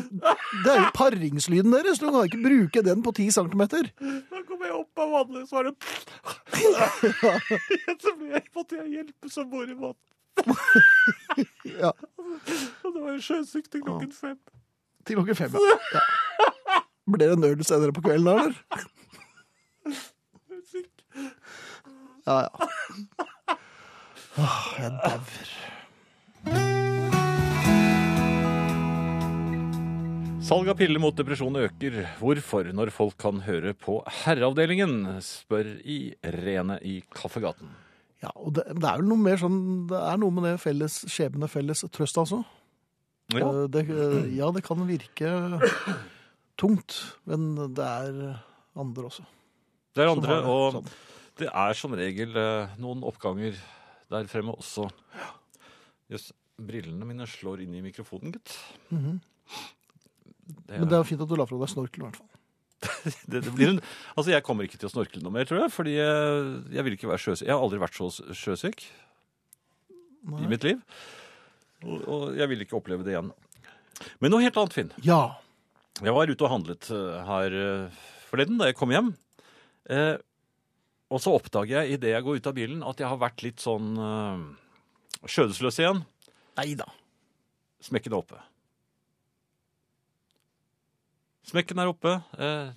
det er jo paringslyden deres. Du kan ikke bruke den på ti centimeter. Da kom jeg opp av vannet, så var det <laughs> Så ble jeg, måtte jeg hjelpe samboer i vann. <laughs> Ja, <laughs> Ah. Og det var jo sjøsyk til klokken fem. til klokken fem, ja. ja. Blir det en øl senere på kvelden, da, eller? Syk. Ja, ja. Åh, jeg dauer. Salg av piller mot depresjon øker. Hvorfor, når folk kan høre på Herreavdelingen? spør Irene i Kaffegaten. Ja, og det, det er vel noe mer sånn Det er noe med det felles skjebne, felles trøst, altså. Ja, Eh, Det, eh, ja, det kan virke tungt, men det er andre også. det er som andre, har det og sånn. det er som regel eh, noen oppganger der fremme også. Jøss, brillene mine slår inn i mikrofonen, gitt. Mhm. Det, Men det er fint at du la fra deg snorkelen, i hvert fall. det, det blir en, altså jeg kommer ikke til å snorkle noe mer, tror jeg. Fordi jeg, jeg vil ikke være sjøsyk. Jeg har aldri vært så sjøsyk i Nei. mitt liv. Og, og jeg vil ikke oppleve det igjen. Men noe helt annet, Finn. Ja. Jeg var ute og handlet eh, her eh, forleden da jeg kom hjem. Eh, og så oppdager jeg idet jeg går ut av bilen, at jeg har vært litt sånn eh, skjødesløs igjen. Nei da. Smekken er oppe. Smekken er oppe. Eh,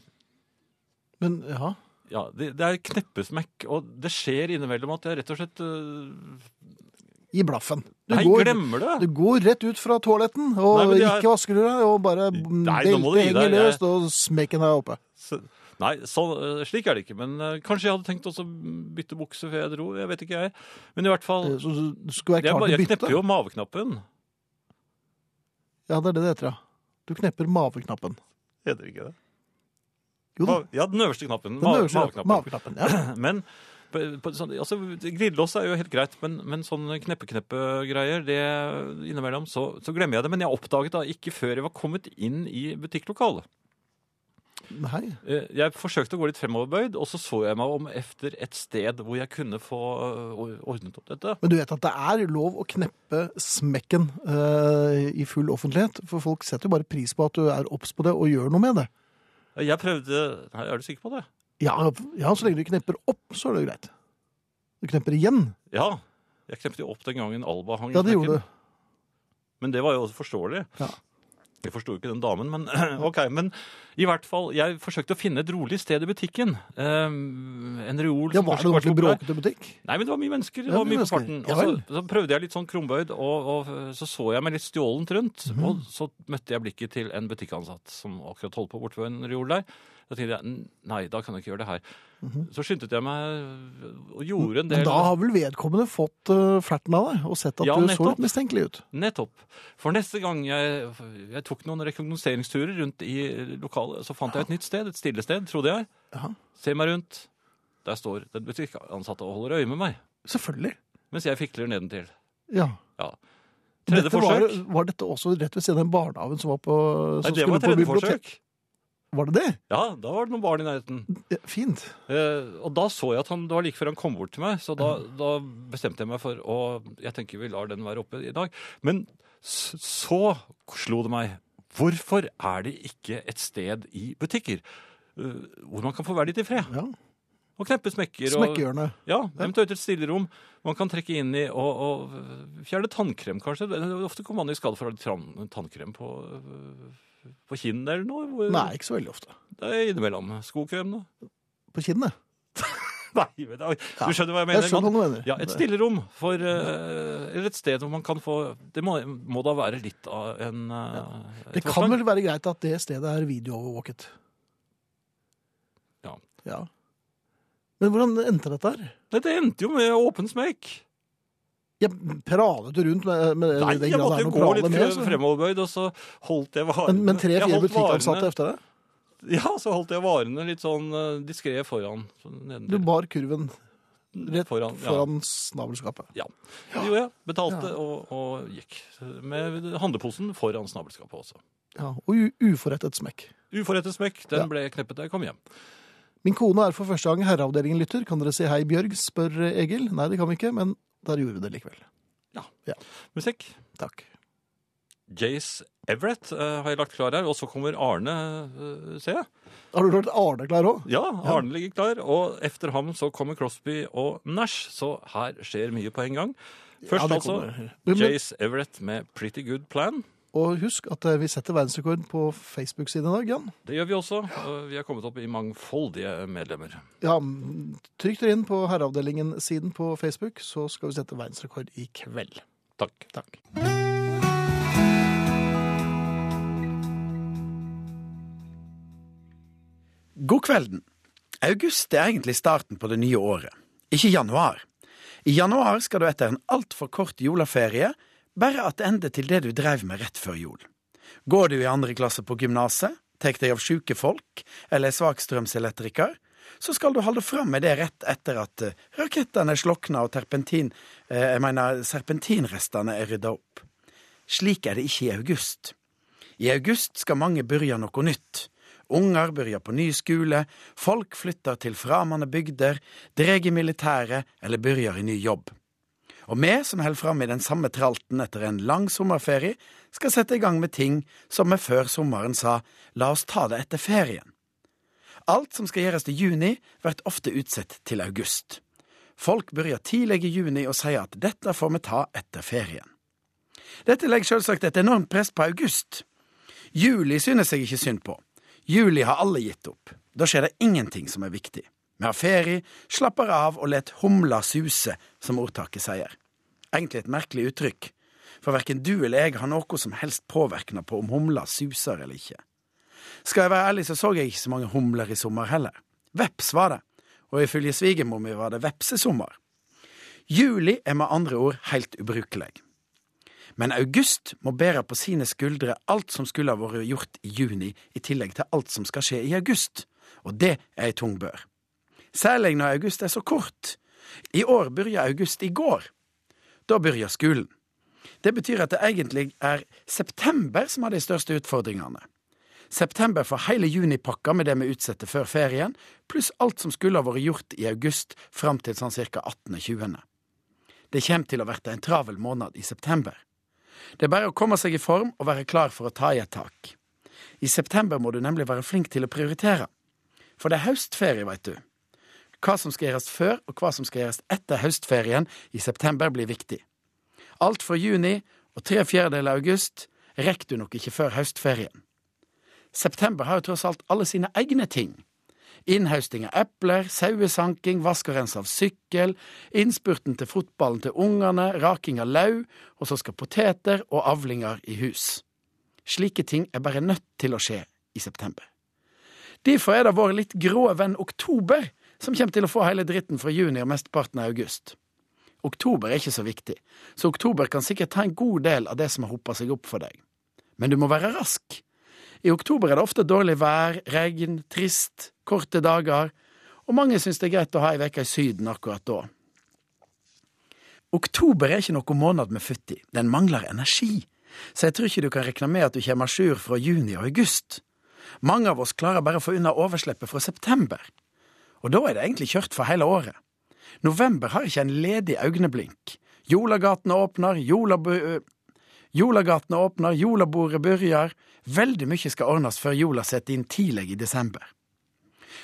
Men ja. Ja, det, det er kneppesmekk, og det skjer innimellom at jeg rett og slett øh, Gi blaffen. Du, Nei, går, glemmer det! du går rett ut fra toaletten, og Nei, men det er- ikke vasker du deg, og bare Nei, nå må du beltet gi deg, henger jeg- løst, og smekken er oppe. Så, nei, så, øh, slik er det ikke. Men øh, kanskje jeg hadde tenkt også å bytte bukse før jeg dro. Jeg vet ikke, jeg. Men i hvert fall Eh, Jeg, Så så du skulle være klar til å bare, jeg bytte. knepper jo maveknappen. Ja, det er det det heter, ja. Du knepper maveknappen. Heter det ikke det? Jo da. Ma- Ja, den øverste knappen. Den ma- øverste maveknappen. maveknappen. Ja. Men på, på, sånn, altså, Glidelås er jo helt greit, men, men sånn kneppe-kneppe-greier det innimellom, så, så glemmer jeg det. Men jeg oppdaget da ikke før jeg var kommet inn i butikklokalet. Nei. Eh, Jeg forsøkte å gå litt fremoverbøyd, og så så jeg meg om efter et sted hvor jeg kunne få øh, ordnet opp dette. Men du vet at det er lov å kneppe smekken eh, i full offentlighet, for folk setter jo bare pris på at du er obs på det og gjør noe med det. Jeg prøvde Nei, Er du sikker på det? Ja, ja, så lenge du knepper opp, så er det jo greit. Du knepper igjen. Ja. Jeg knepte jo opp den gangen Alba hang i Ja, det knekken. gjorde du. Men det var jo også forståelig. Ja. Jeg forsto ikke den damen, men <clears throat> ok. Men i hvert fall, jeg forsøkte å finne et rolig sted i butikken. Eh, en reol Ja, som var kanskje det var ordentlig populær. bråkete butikk? Nei, men det var mye mennesker. Det Ja, var mye mye på mennesker. farten. Ja Og så, vel. så prøvde jeg litt sånn krumbøyd, og, og så så jeg meg litt stjålent rundt. Mhm. Og så møtte jeg blikket til en butikkansatt som akkurat holdt på borte ved en reol der. Da tenkte jeg "N- nei, da kan jeg ikke gjøre det her. Så skyndte jeg meg og gjorde en Mhm. Men del da har vel vedkommende fått uh, flerten av deg og sett at Ja, du så nettopp. litt mistenkelig ut? Nettopp. For neste gang jeg, jeg tok noen rekognoseringsturer rundt i lokalet, så fant jeg et nytt sted, et stille sted, trodde jeg. Ja. Se meg rundt. Der står den butikkansatte og holder øye med meg, Selvfølgelig. mens jeg fikler nedentil. Ja. Ja. Tredje dette forsøk. Var, var dette også rett ved siden av den barnehagen som var på Nei, som det var skulle på tredje bibliotek- forsøk. Var det det? Ja, da var det noen barn i nærheten. Ja, Fint. Eh, og da så jeg at han, det var like før han kom bort til meg, så da, da bestemte jeg meg for å Jeg tenker vi lar den være oppe i dag. Men s- så slo det meg. Hvorfor er det ikke et sted i butikker eh, hvor man kan få være litt i fred? Ja. Og kneppe smekker og Smekkehjørnet. ja, eventuelt et stillerom man kan trekke inn i og, og øh, fjerne tannkrem, kanskje. Det- det- Ofte kommer man i skade for å ha litt tran- tannkrem på, øh, på kinnet eller noe. hvor- Nei, ikke så veldig ofte. Det er innimellom. Skokrem, da. På kinnet. Nei, men, oi, Ja. du skjønner hva jeg mener. Jeg skjønner hva man- du mener. ja, et stillerom for øh, Eller et sted hvor man kan få Det må, må da være litt av en øh, et Det kan forslag. vel være greit at det stedet er videoovervåket. Ja. ja. Men hvordan endte dette her? Nei, Det endte jo med åpen smekk. Jeg pralet jo rundt med, med Nei, den jeg grad måtte det er jo noe gå prale litt med. fre- så- fremoverbøyd, og så holdt jeg varene. Men, men Jeg tre-fire holdt varene- butikkansatte etter deg? Ja, så holdt jeg varene litt sånn diskré foran. Sånn Du nedentil. bar kurven rett foran, foran snabelskapet. Ja. ja. Det gjorde jeg. Betalte Ja. og, og gikk. Med handleposen foran snabelskapet også. Ja, og u- uforrettet smekk. Uforrettet smekk, den Ja. ble kneppet da jeg kom hjem. Min kone er for første gang herreavdelingen lytter. Kan dere si hei, Bjørg? spør Egil. Nei, det kan vi ikke, men der gjorde vi det likevel. Musikk. Takk. Jace Everett eh, har jeg lagt klar her, og så kommer Arne, eh, ser jeg. Har du hørt Arne klar òg? Ja, Arne ligger klar, og efter ham så kommer Crosby og Nash, så her skjer mye på en gang. Først altså Men, Jace Everett med Pretty Good Plan. og husk at eh, vi setter verdensrekord på Facebook-siden i dag, Jan. Det gjør vi også. og Vi er kommet opp i mangfoldige medlemmer. Ja, mm, Trykk dere inn på Herreavdelingen-siden på Facebook, så skal vi sette verdensrekord i kveld. Takk. Takk. God kvelden. August er egentlig starten på det nye året, ikke januar. I januar skal du etter en altfor kort juleferie bare attende til det du dreiv med rett før jul. Går du i andre klasse på gymnaset, tar deg av sjuke folk eller er svakstrømselektriker, så skal du holde fram med det rett etter at eh, rakettene er slokna og terpentin, eh, jeg mener serpentinrestene er rydda opp. Slik er det ikke i august. I august skal mange begynne noe nytt. Unger begynner på ny skole, folk flytter til framande bygder, dreg i militæret eller begynner i ny jobb. Og vi som holder fram i den samme tralten etter en lang sommerferie, skal sette i gang med ting som vi før sommeren sa la oss ta det etter ferien. Alt som skal gjøres til juni, blir ofte utsatt til august. Folk begynner tidlig i juni og sier at dette får vi ta etter ferien. Dette legger selvsagt et enormt press på august. Juli synes jeg ikke synd på. Juli har alle gitt opp. Da skjer det ingenting som er viktig. Vi har ferie, slapper av og let humla suse, som ordtaket sier. Egentlig et merkelig uttrykk, for verken du eller jeg har noe som helst påvirkning på om humla suser eller ikke. Skal jeg være ærlig, så så jeg ikke så mange humler i sommer heller. Veps var det, og ifølge svigermor mi var det vepsesommer. Juli er med andre ord helt ubrukelig. Men august må bære på sine skuldre alt som skulle ha vært gjort i juni, i tillegg til alt som skal skje i august. Og det er ei tung bør. Særlig når august er så kort. I år begynte august i går. Da begynte skolen. Det betyr at det egentlig er september som har de største utfordringene. September får hele junipakka med det vi utsetter før ferien, pluss alt som skulle ha vært gjort i august fram til sånn ca. 18.20. Det kommer til å bli en travel måned i september. Det er bare å komme seg i form og være klar for å ta i et tak. I september må du nemlig være flink til å prioritere. For det er høstferie, veit du. Hva som skal gjøres før, og hva som skal gjøres etter høstferien i september, blir viktig. Alt fra juni og tre fjerdedeler av august rekker du nok ikke før høstferien. September har jo tross alt alle sine egne ting. Innhøsting av epler, sauesanking, vask og rens av sykkel, innspurten til fotballen til ungene, raking av lau, og så skal poteter og avlinger i hus. Slike ting er bare nødt til å skje i september. Derfor er det vår litt grå venn oktober som kommer til å få hele dritten fra juni og mesteparten av august. Oktober er ikke så viktig, så oktober kan sikkert ta en god del av det som har hopa seg opp for deg. Men du må være rask. I oktober er det ofte dårlig vær, regn, trist, korte dager, og mange syns det er greit å ha ei uke i Syden akkurat da. Oktober er ikke noen måned med futt i, den mangler energi, så jeg tror ikke du kan regne med at du kommer à jour fra juni og august. Mange av oss klarer bare å få unna oversleppet fra september, og da er det egentlig kjørt for hele året. November har ikke en ledig øyeblink. Jolagatene åpner, jolabu... øh, Jolagatene åpner, jolabordet begynner. Veldig mye skal ordnes før jola setter inn tidlig i desember.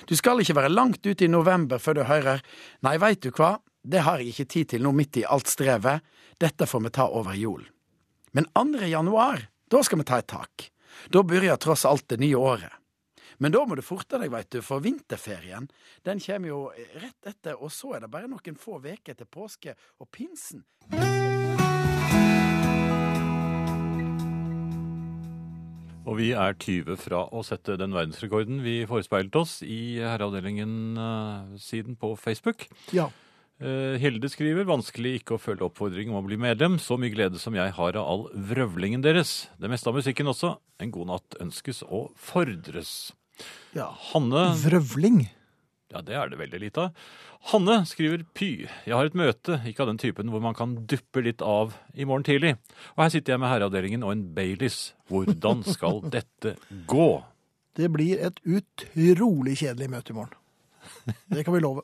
Du skal ikke være langt ute i november før du hører Nei, veit du hva, det har jeg ikke tid til nå midt i alt strevet, dette får vi ta over jul. Men 2. januar, da skal vi ta et tak. Da begynner tross alt det nye året. Men da må du forte deg, veit du, for vinterferien den kommer jo rett etter, og så er det bare noen få uker til påske og pinsen. Og vi er 20 fra å sette den verdensrekorden vi forespeilet oss i Herreavdelingen-siden på Facebook. Ja. Eh, Hilde skriver vanskelig ikke å følge oppfordring om å bli medlem. Så mye glede som jeg har av all vrøvlingen deres. Det meste av musikken også. En god natt ønskes og fordres. Ja. Hanne Vrøvling. Ja, det er det veldig lite av. Hanne skriver py. Jeg har et møte, ikke av den typen hvor man kan duppe litt av i morgen tidlig. Og her sitter jeg med herreavdelingen og en Baileys. Hvordan skal dette gå? Det blir et utrolig kjedelig møte i morgen. Det kan vi love.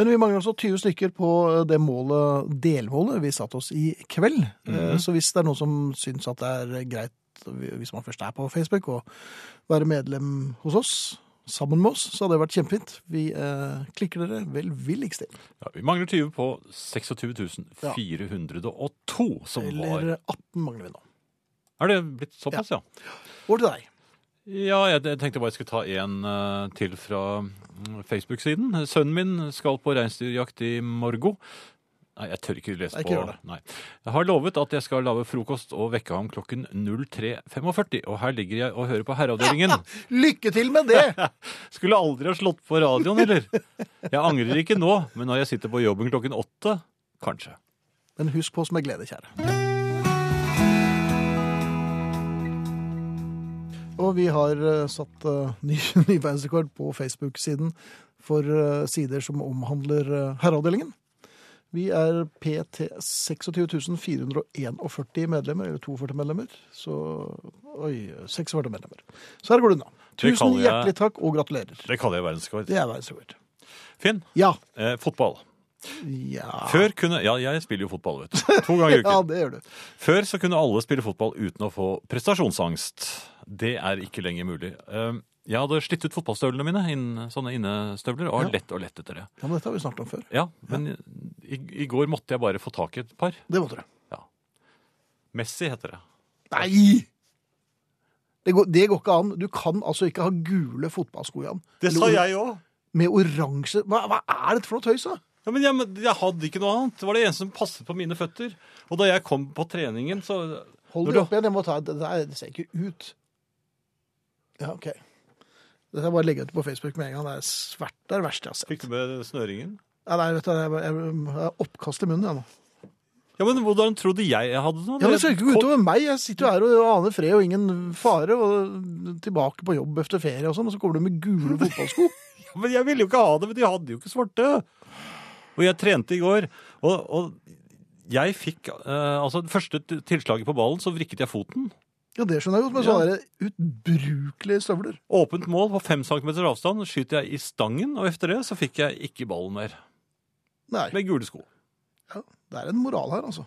Men vi mangler altså 20 stykker på det målet, delmålet vi satte oss i kveld. Eh, Så hvis det er noen som syns at det er greit, hvis man først er på Facebook, å være medlem hos oss sammen med oss, så hadde det vært kjempefint. Vi eh, klikker dere velvilligst til. Ja, vi mangler 20 på 26 402, som var Eller 18 mangler vi nå. Er det blitt såpass, ja? Over til deg. Ja, jeg jeg tenkte bare jeg skulle ta en eh, til fra mm, Facebook-siden. Sønnen min skal på reinsdyrjakt i morgen. Nei, jeg tør ikke lese Nei, ikke på gjør det. Nei. Jeg har lovet at jeg skal lage frokost og vekke ham klokken 03.45. Og her ligger jeg og hører på <laughs> Herreavdelingen. Lykke til med det! Skulle aldri ha slått på radioen, eller? Jeg angrer ikke nå, men når jeg sitter på jobben klokken åtte, kanskje. Men husk på oss med glede, kjære. Og vi har eh, satt eh, <laughs> ny, ny verdensrekord på Facebook-siden for eh, sider som omhandler eh, herreavdelingen. Vi er PT 26.441 medlemmer, eller 42 medlemmer. Så Oi, 46 medlemmer. Så her går det unna. Det Tusen kaller jeg- hjertelig takk, og gratulerer. Det kaller jeg verdensrekord. Det er verdensrekord. Finn, Ja. eh, fotball. Ja. Før kunne Ja, jeg spiller jo fotball, vet du. To <laughs> ganger i uken. ja, det gjør du. Før så kunne alle spille fotball uten å få prestasjonsangst. Det er ikke lenger mulig. Eh, Jeg hadde slitt ut fotballstøvlene mine, inn, sånne innestøvler, og har Ja. lett og lett etter det. Ja, men Dette har vi snakket om før. Ja, Men i, i går måtte jeg bare få tak i et par. Det måtte du. Messi heter det. Nei! Det går, det går ikke an. Du kan altså ikke ha gule fotballsko, Jan. Eller or- jeg òg. Med oransje hva, hva er dette for noe tøys, da? Ja, men jeg, men jeg hadde ikke noe annet. Det var det eneste som passet på mine føtter. Og da jeg kom på treningen, så Hold Når det du- opp igjen. Jeg må ta, det, der- det ser ikke ut. Ja, OK. Dette er bare å legge ut på Facebook med en gang. Det er svært det er det verste jeg har sett. fikk du med snøringen. Ja, nei, vet du, jeg, jeg, jeg har oppkast i munnen, jeg nå. Ja, men Hvordan trodde jeg jeg hadde noe? Ja, men Det skal ikke gå Kom- utover meg. Jeg sitter jo her og aner fred og ingen fare. Og tilbake på jobb etter ferie og sånn, og så kommer du med gule <laughs> fotballsko. Men jeg ville jo ikke ha det, men de hadde jo ikke svarte. Og jeg trente i går, og, og jeg fikk eh, Altså, det første t- tilslaget på ballen, så vrikket jeg foten. Ja, det skjønner jeg godt, men sånne der utbrukelige støvler. Åpent mål på fem centimeter avstand skyter jeg i stangen, og etter det så fikk jeg ikke ballen mer. Nei. Med gule sko. Ja, det er en moral her, altså.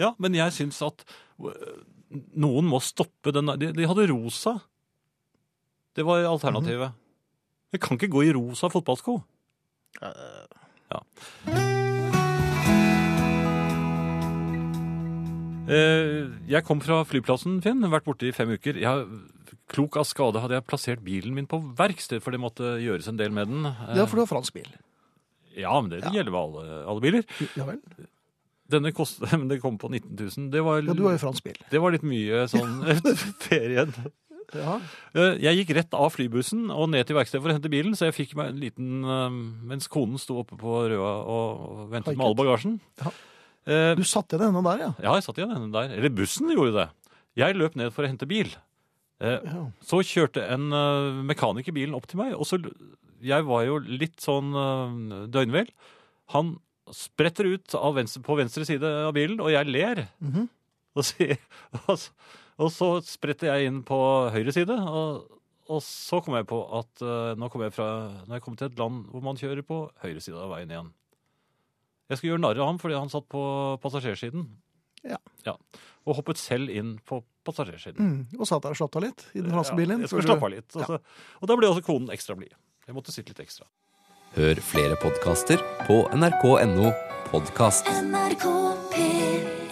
Ja, men jeg syns at eh, noen må stoppe den der- de, de hadde rosa. Det var alternativet. Jeg kan ikke gå i rosa fotballsko. Ja. Eh, Jeg kom fra flyplassen, Finn. Vært borte i fem uker. Jeg, klok av skade hadde jeg plassert bilen min på verksted, for det måtte gjøres en del med den. Eh, Ja, for du har fransk bil. ja men det, det gjelder ved alle, alle biler. Ja vel. Denne kostet, <laughs> men det kom på 19 000. Det var, Ja, du har jo fransk bil. det var litt mye <laughs> sånn <laughs> etter ferien. Ja. Eh, Jeg gikk rett av flybussen og ned til verkstedet for å hente bilen, så jeg fikk meg en liten eh, Mens konen sto oppe på Røa og ventet med all bagasjen. Ja. Eh, Du satte igjen denne der, ja. Ja, jeg satt igjen henne der. Eller bussen gjorde det. Jeg løp ned for å hente bil. Eh, ja. så kjørte en eh, mekaniker bilen opp til meg, og så Jeg var jo litt sånn eh, døgnvill. Han spretter ut av venstre, på venstre side av bilen, og jeg ler. Mhm. <laughs> og, sier, og, så, og så spretter jeg inn på høyre side, og, og så kom jeg på at eh, nå kom jeg fra Nå er jeg kommet til et land hvor man kjører på høyre side av veien igjen. Jeg skulle gjøre narr av ham fordi han satt på passasjersiden. Ja. Og hoppet selv inn på passasjersiden. Mm. Og satt der og slapp av litt i den franske bilen. Jeg skulle før du- slappe av litt. Og, så, og da ble også konen ekstra blid. Jeg måtte sitte litt ekstra. Hør flere podkaster på nrk.no podkast. NRK P3